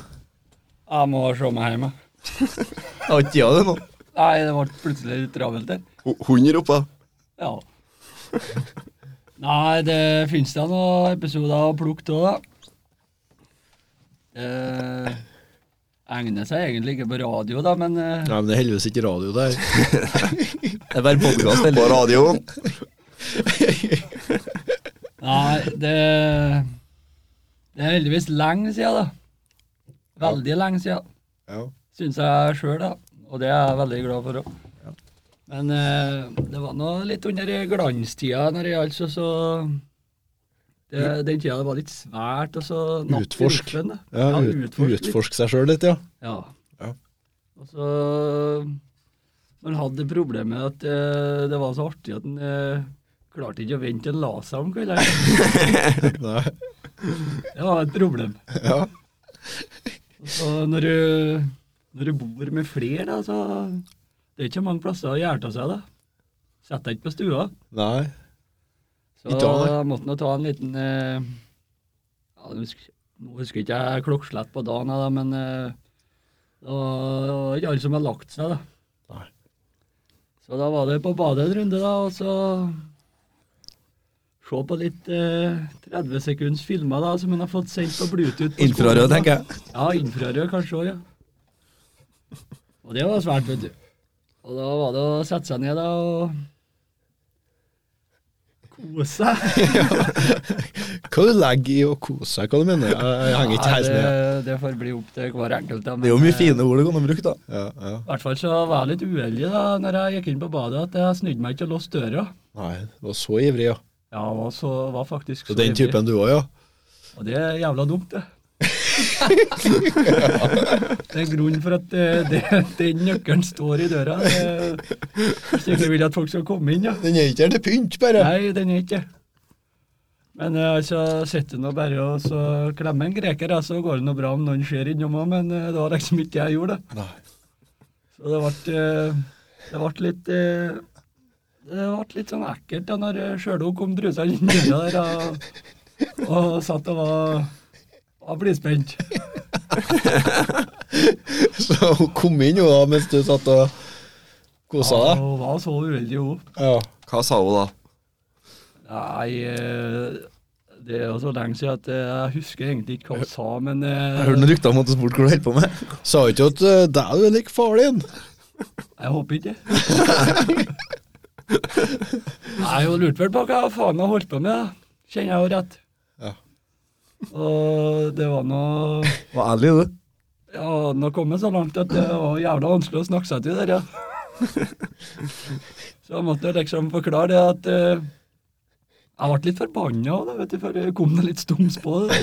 [SPEAKER 3] Jeg må se meg hjemme.
[SPEAKER 6] Jeg har ikke jeg det nå.
[SPEAKER 3] Nei, det ble plutselig litt travelt der.
[SPEAKER 4] Ho- Hund ropa.
[SPEAKER 3] Ja. Nei, det finnes da noen episoder å plukke av, da. Det egner seg egentlig ikke på radio, da, men eh,
[SPEAKER 7] Nei, men det er heldigvis ikke radio der.
[SPEAKER 6] Det er bare podcast,
[SPEAKER 4] På
[SPEAKER 6] eller?
[SPEAKER 4] radioen.
[SPEAKER 3] Nei, det Det er heldigvis lenge siden, da. Veldig lenge siden.
[SPEAKER 7] Ja.
[SPEAKER 3] Syns jeg sjøl, da. Og det er jeg veldig glad for òg. Men eh, det var nå litt under glanstida når det gjaldt, så- så det, Den tida det var litt svært, og så napp i
[SPEAKER 7] Utforsk.
[SPEAKER 3] rytmen, da.
[SPEAKER 7] Ja, ut,
[SPEAKER 3] utforsk litt.
[SPEAKER 7] utforsk seg sjøl litt, ja.
[SPEAKER 3] Ja.
[SPEAKER 7] Ja.
[SPEAKER 3] Og så Man hadde problemet at eh, det var så artig at en eh, klarte ikke å vente til en la seg om kvelden.
[SPEAKER 7] Nei.
[SPEAKER 3] Det var et problem.
[SPEAKER 7] Ja.
[SPEAKER 3] Og så når du, når du bor med flere, da, så Det er ikke mange plasser å gjøre av seg, da. Setter deg ikke på stua.
[SPEAKER 7] Nei.
[SPEAKER 3] Så
[SPEAKER 7] Ikke alle.
[SPEAKER 3] jeg måtte nå ta en liten eh, ja, jeg husker, Nå husker ikke jeg klokkeslett på dagen, da, men eh, det var det var ikke alle som hadde lagt seg, da. Så da var det på badet en runde, da, og så Se på litt eh, 30 sekunds filmer da, som hun har fått sendt på Bluetooth. på skolen,
[SPEAKER 6] Infrarød,
[SPEAKER 3] da.
[SPEAKER 6] tenker jeg.
[SPEAKER 3] Ja, infrarød kanskje òg, ja. Og det var svært, vet du. Og da var det å sette seg ned da og kose seg.
[SPEAKER 7] Hva du legger i å kose seg, hva du mener? Jeg, jeg henger ikke
[SPEAKER 3] Nei,
[SPEAKER 7] helt
[SPEAKER 3] det,
[SPEAKER 7] med.
[SPEAKER 3] det får bli opp til hver enkelt. Da, men,
[SPEAKER 6] Det er jo mye
[SPEAKER 3] eh,
[SPEAKER 6] fine ord det kan bruke, da.
[SPEAKER 7] Ja, ja.
[SPEAKER 3] I hvert fall så var jeg litt uheldig da når jeg gikk inn på badet, at jeg snudde meg ikke og låste døra.
[SPEAKER 7] Nei, du var så ivrig, ja.
[SPEAKER 3] Ja, jeg var, så, var faktisk
[SPEAKER 7] Så den
[SPEAKER 3] heldig.
[SPEAKER 7] typen du òg, ja?
[SPEAKER 3] Og det er jævla dumt, det. Det er grunnen for at eh, det, den nøkkelen står i døra. Det, hvis du ikke vil at folk skal komme inn, ja.
[SPEAKER 7] Den er ikke her til pynt, bare.
[SPEAKER 3] Nei, den er ikke det. Men eh, altså, sitter nå bare og så klemmer en greker, da, så går det nå bra om noen ser innom òg, men eh, det var liksom ikke det jeg gjorde, da. Så det ble, eh, det ble litt eh, Det ble litt sånn ekkelt da når eh, sjøl hun kom brusende inn døra der og, og satt og var, var blidspent.
[SPEAKER 7] Så hun kom inn jo da mens du satt og kosa
[SPEAKER 3] Ja,
[SPEAKER 7] deg.
[SPEAKER 3] Hun var så uheldig, hun.
[SPEAKER 7] Ja.
[SPEAKER 4] Hva sa hun da?
[SPEAKER 3] Nei, eh, det er jo så lenge siden at eh, jeg husker egentlig ikke hva hun sa, men eh,
[SPEAKER 6] Jeg hørte noen rykter om at du spurte hva du holdt på med.
[SPEAKER 7] Sa hun ikke at eh, deg du er lik faren din?
[SPEAKER 3] Jeg håper ikke. Nei, hun lurte vel på hva faen jeg holdt på med, da. kjenner jeg jo rett.
[SPEAKER 7] Ja.
[SPEAKER 3] Og det var nå
[SPEAKER 6] Var ærlig, du.
[SPEAKER 3] Ja, nå kom jeg så langt at det var jævla vanskelig å snakke seg til der, ja. Så jeg måtte jo liksom forklare det at eh, Jeg ble litt forbanna òg, vet du, for jeg kom det litt stums på det.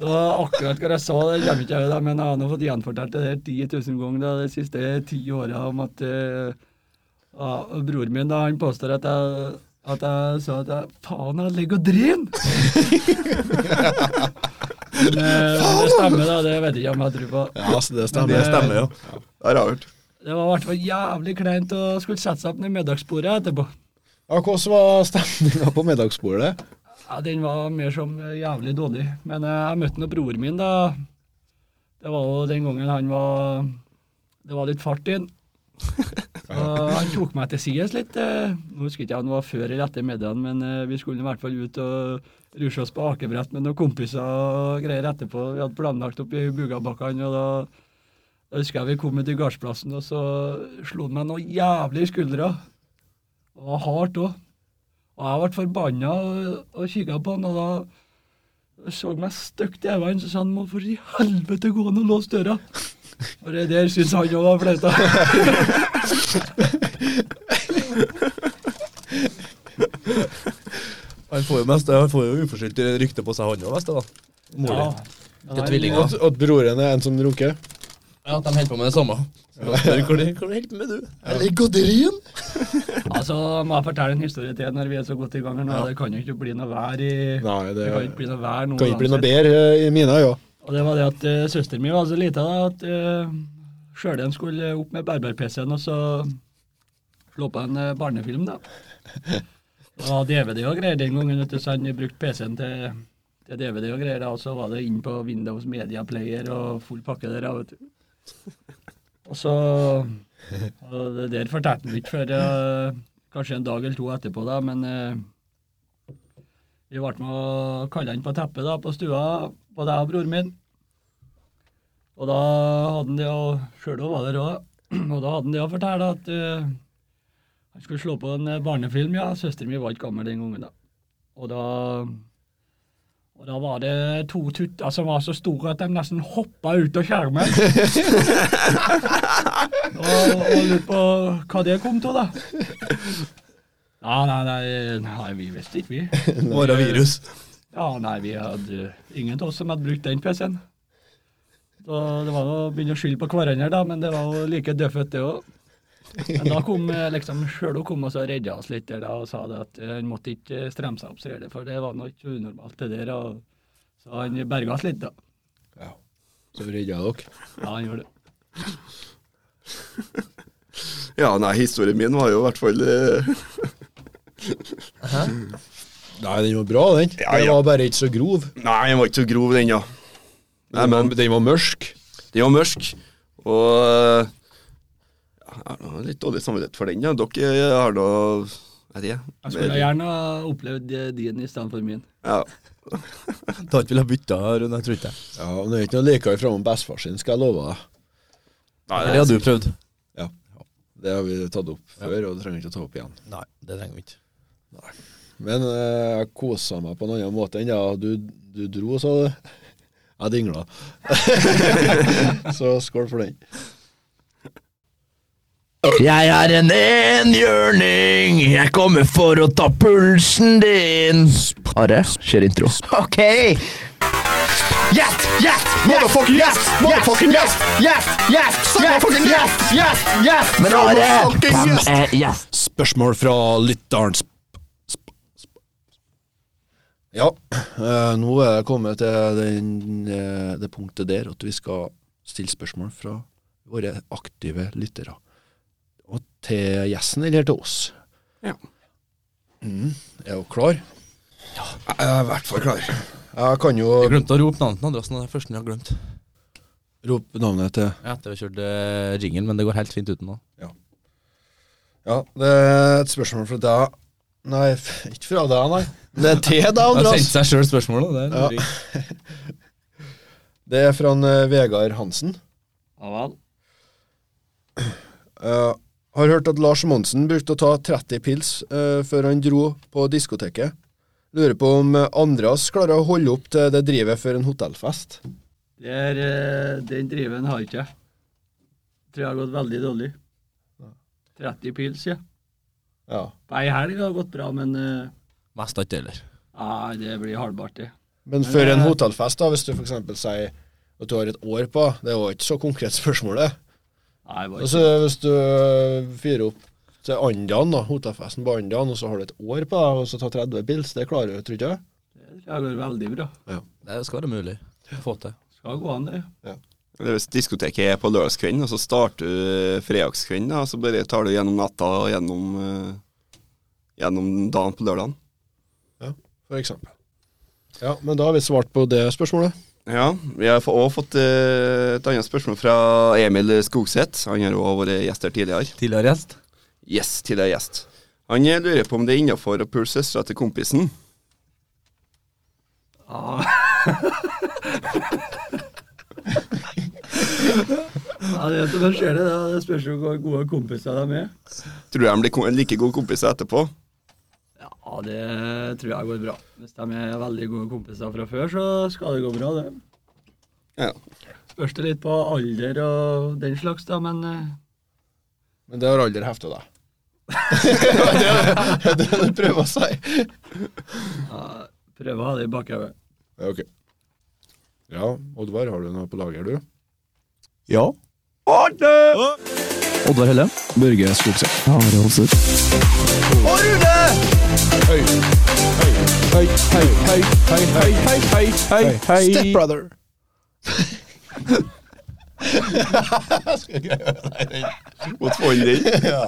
[SPEAKER 3] Så akkurat hva jeg sa, det kommer ikke jeg da, men jeg har nå fått gjenfortalt det der 10 000 ganger da, de siste ti åra om at eh, ja, og Broren min da, han påstår at jeg, at jeg sa at jeg faen, jeg ligger og driver! Men eh, om det stemmer, da, det vet jeg ikke om jeg tror på.
[SPEAKER 7] Ja, så det stemmer.
[SPEAKER 6] Det stemmer, jo.
[SPEAKER 4] Det har jeg hørt.
[SPEAKER 3] Det var i hvert fall jævlig kleint å skulle sette seg opp ned middagsbordet etterpå.
[SPEAKER 7] Ja, Hvordan var stemninga på middagsbordet?
[SPEAKER 3] Ja, Den var mer som eh, jævlig dårlig. Men eh, jeg møtte nå broren min, da. Det var jo den gangen han var Det var litt fart i han. Så han tok meg til sides litt. eh, Nå husker ikke jeg om det var før eller etter middagen, men eh, vi skulle i hvert fall ut og rushe oss på akebrett med noen kompiser og greier etterpå. Vi hadde planlagt opp i Bugabakkene, og da, da husker jeg vi kom ut i gardsplassen, og så slo han meg noe jævlig i skuldra. Det var hardt òg. Og jeg ble forbanna og, og kikka på han, og da så han meg stygt i øynene, så sa han må for i helvete gå an og låse døra. Og det der syns han òg var flaut. da.
[SPEAKER 6] Han får jo mest, han får jo uforskyldt rykte på seg, han òg, mest, da.
[SPEAKER 3] Ja.
[SPEAKER 6] Mor
[SPEAKER 3] Men
[SPEAKER 6] Ikke
[SPEAKER 3] han-
[SPEAKER 6] tvillinger.
[SPEAKER 7] At, at broren er en som runker?
[SPEAKER 6] Ja, de holder på med det samme. Så da spør jeg, Hva holder du helt med, du? Eller godterien?
[SPEAKER 3] Altså, må jeg fortelle en historie til når vi er så godt i gang her nå? Det kan jo ikke bli noe vær i
[SPEAKER 7] Nei,
[SPEAKER 3] Det
[SPEAKER 7] det
[SPEAKER 3] kan ikke bli noe vær nå.
[SPEAKER 7] kan ikke bli noe
[SPEAKER 3] uansett.
[SPEAKER 7] bedre eh, i mine øyne.
[SPEAKER 3] Og det var det at eh, søsteren min var så lita da, at uh, Sjølen skulle opp med berber-PC-en og så slå på en eh, barnefilm, da. Det var DVD og greier den gangen, vet du, så han brukte PC-en til, til DVD og greier. da, Og så var det inn på Windows Media Player og full pakke der, da, vet du. Og så og Det der fortalte han ikke før eh, kanskje en dag eller to etterpå, da, men eh, vi ble med å kalle han på teppet da, på stua, både jeg og broren min. Og da hadde han det å Sjøl var der òg. Og da hadde han det å fortelle at eh, han skulle slå på en eh, barnefilm, ja. Søsteren min var ikke gammel den gangen, da. Og da og da var det to tutter som var så store at de nesten hoppa ut av skjermen. og, og lurte på hva det kom til, da. Nei, nei, nei, nei vi visste ikke, vi.
[SPEAKER 6] Bare virus.
[SPEAKER 3] Ja, nei, vi hadde ingen av oss som hadde brukt den PC-en. Så det var å begynne å skylde på hverandre, da, men det var jo like dødfødt, det òg. Men da kom eh, liksom sjøl hun kom og så redda oss litt der da, og sa det at eh, han måtte ikke eh, stremme seg opp, så er det, for det var nå ikke unormalt, det der. Og, så han berga oss litt, da.
[SPEAKER 7] Så redda dere.
[SPEAKER 3] Ja, han gjorde det.
[SPEAKER 4] Ja, nei, historien min var jo i hvert fall eh,
[SPEAKER 1] Nei, den var bra, den.
[SPEAKER 4] Ja,
[SPEAKER 1] Den
[SPEAKER 4] ja.
[SPEAKER 1] var bare ikke så grov.
[SPEAKER 4] Nei, den var ikke så grov, den, da. Nei,
[SPEAKER 1] Den var,
[SPEAKER 4] men
[SPEAKER 1] den var mørk.
[SPEAKER 4] den var mørk. Og eh, jeg har nå litt dårlig samvittighet for den, da. Dere eh, har da Jeg vet ikke.
[SPEAKER 3] Jeg skulle gjerne ha opplevd eh, din istedenfor min.
[SPEAKER 4] Ja.
[SPEAKER 6] Da ville jeg bytta, Rune. Jeg tror ikke det.
[SPEAKER 1] Ja, og Det er ikke noe likere framom bestefar sin, skal jeg love deg.
[SPEAKER 4] Nei,
[SPEAKER 6] Det har du prøvd.
[SPEAKER 1] Det har vi tatt opp før, og det trenger vi ikke å ta opp igjen.
[SPEAKER 6] Nei, det trenger vi ikke.
[SPEAKER 1] Men eh, jeg kosa meg på en annen måte enn ja, du, du dro, sa du. Jeg dingla. Så skål for den.
[SPEAKER 5] Jeg er en enhjørning, jeg kommer for å ta pulsen din. Are, kjør intro. Ok. Yes, yes, motherfucking yes, motherfucking yes, yes, yes, yes, yes, yes, yes. Men Are, hvem er yes?
[SPEAKER 1] Spørsmål fra lytteren. Sp- sp- sp- Ja, eh, nå er jeg kommet til den, eh, det punktet der at vi skal stille spørsmål fra våre aktive lyttere. Og til gjesten eller til oss.
[SPEAKER 4] Ja.
[SPEAKER 1] Mm, er du klar?
[SPEAKER 4] Jeg er i hvert fall klar.
[SPEAKER 1] Jeg kan jo
[SPEAKER 6] Jeg glemte å rope navnet til Andreassen. Det er første jeg har glemt.
[SPEAKER 1] rope navnet til
[SPEAKER 6] Jeg har kjørt eh, jingle, men det går helt fint uten nå.
[SPEAKER 1] Ja, det er et spørsmål fra deg. Nei, f- ikke fra deg, nei. Det er til deg,
[SPEAKER 6] Han
[SPEAKER 1] Andreas.
[SPEAKER 6] sendte seg sjøl spørsmålet. Det er
[SPEAKER 1] Ja.
[SPEAKER 6] luring.
[SPEAKER 1] Det er fra en, eh, Vegard Hansen.
[SPEAKER 3] Ja vel.
[SPEAKER 1] Eh, har hørt at Lars Monsen brukte å ta 30 pils eh, før han dro på diskoteket. Lurer på om eh, Andreas klarer å holde opp til det drivet før en hotellfest.
[SPEAKER 3] Det er, eh, den driven har ikke jeg. Tror jeg har gått veldig dårlig. 30 pils, ja.
[SPEAKER 1] Ja.
[SPEAKER 3] På ei helg har det gått bra, men eh,
[SPEAKER 6] Mest av ikke det heller.
[SPEAKER 3] nei, det blir halvbart, det.
[SPEAKER 1] Men før en hotellfest, da, hvis du f.eks. sier at du har et år på, det var ikke så konkret spørsmålet.
[SPEAKER 3] Nei, det var ikke-
[SPEAKER 1] Altså, hvis du eh, fyrer opp til Andan, da, hotellfesten på Andan, og så har du et år på deg, og så tar 30 pils, det klarer du, tror du ikke?
[SPEAKER 3] det tror jeg går veldig bra.
[SPEAKER 6] Det skal være mulig å få til.
[SPEAKER 3] Skal gå an, det.
[SPEAKER 4] Eller Hvis diskoteket er på lørdagskvelden, og så starter du fredagskvelden, da, og så bare tar du gjennom natta og gjennom, eh, gjennom dagen på lørdagen.
[SPEAKER 1] For eksempel. Ja, men da har vi svart på det spørsmålet.
[SPEAKER 4] Ja, vi har få- også fått eh, et annet spørsmål fra Emil Skogseth. Han har også vært gjest her tidligere.
[SPEAKER 6] Tidligere gjest.
[SPEAKER 4] Yes, tidligere gjest. Han eh, lurer på om det er innafor å pule søstera til kompisen.
[SPEAKER 3] Ja, det, er- det skjer det, da. Det spørs jo hvor gode kompiser de er.
[SPEAKER 4] Tror du de blir ko- like gode kompiser etterpå?
[SPEAKER 3] Ja, det tror jeg går bra. Hvis de er veldig gode kompiser fra før, så skal det gå bra, det.
[SPEAKER 4] Ja.
[SPEAKER 3] Spørs det litt på alder og den slags, da, men eh,
[SPEAKER 1] Men det har aldri hefta deg. det er det du prøver å si.
[SPEAKER 3] ja, prøver å ha det i bakhodet.
[SPEAKER 1] Ja, ok. Ja, Oddvar, har du noe på lager, du?
[SPEAKER 6] Ja. Oddvar Helle.
[SPEAKER 7] Børge Skogseth.
[SPEAKER 6] Are Holser.
[SPEAKER 2] Hei, hei, hei, hei, hei, hei, hei, hei, hei.
[SPEAKER 1] Stepbrother.
[SPEAKER 4] Måtte få inn den.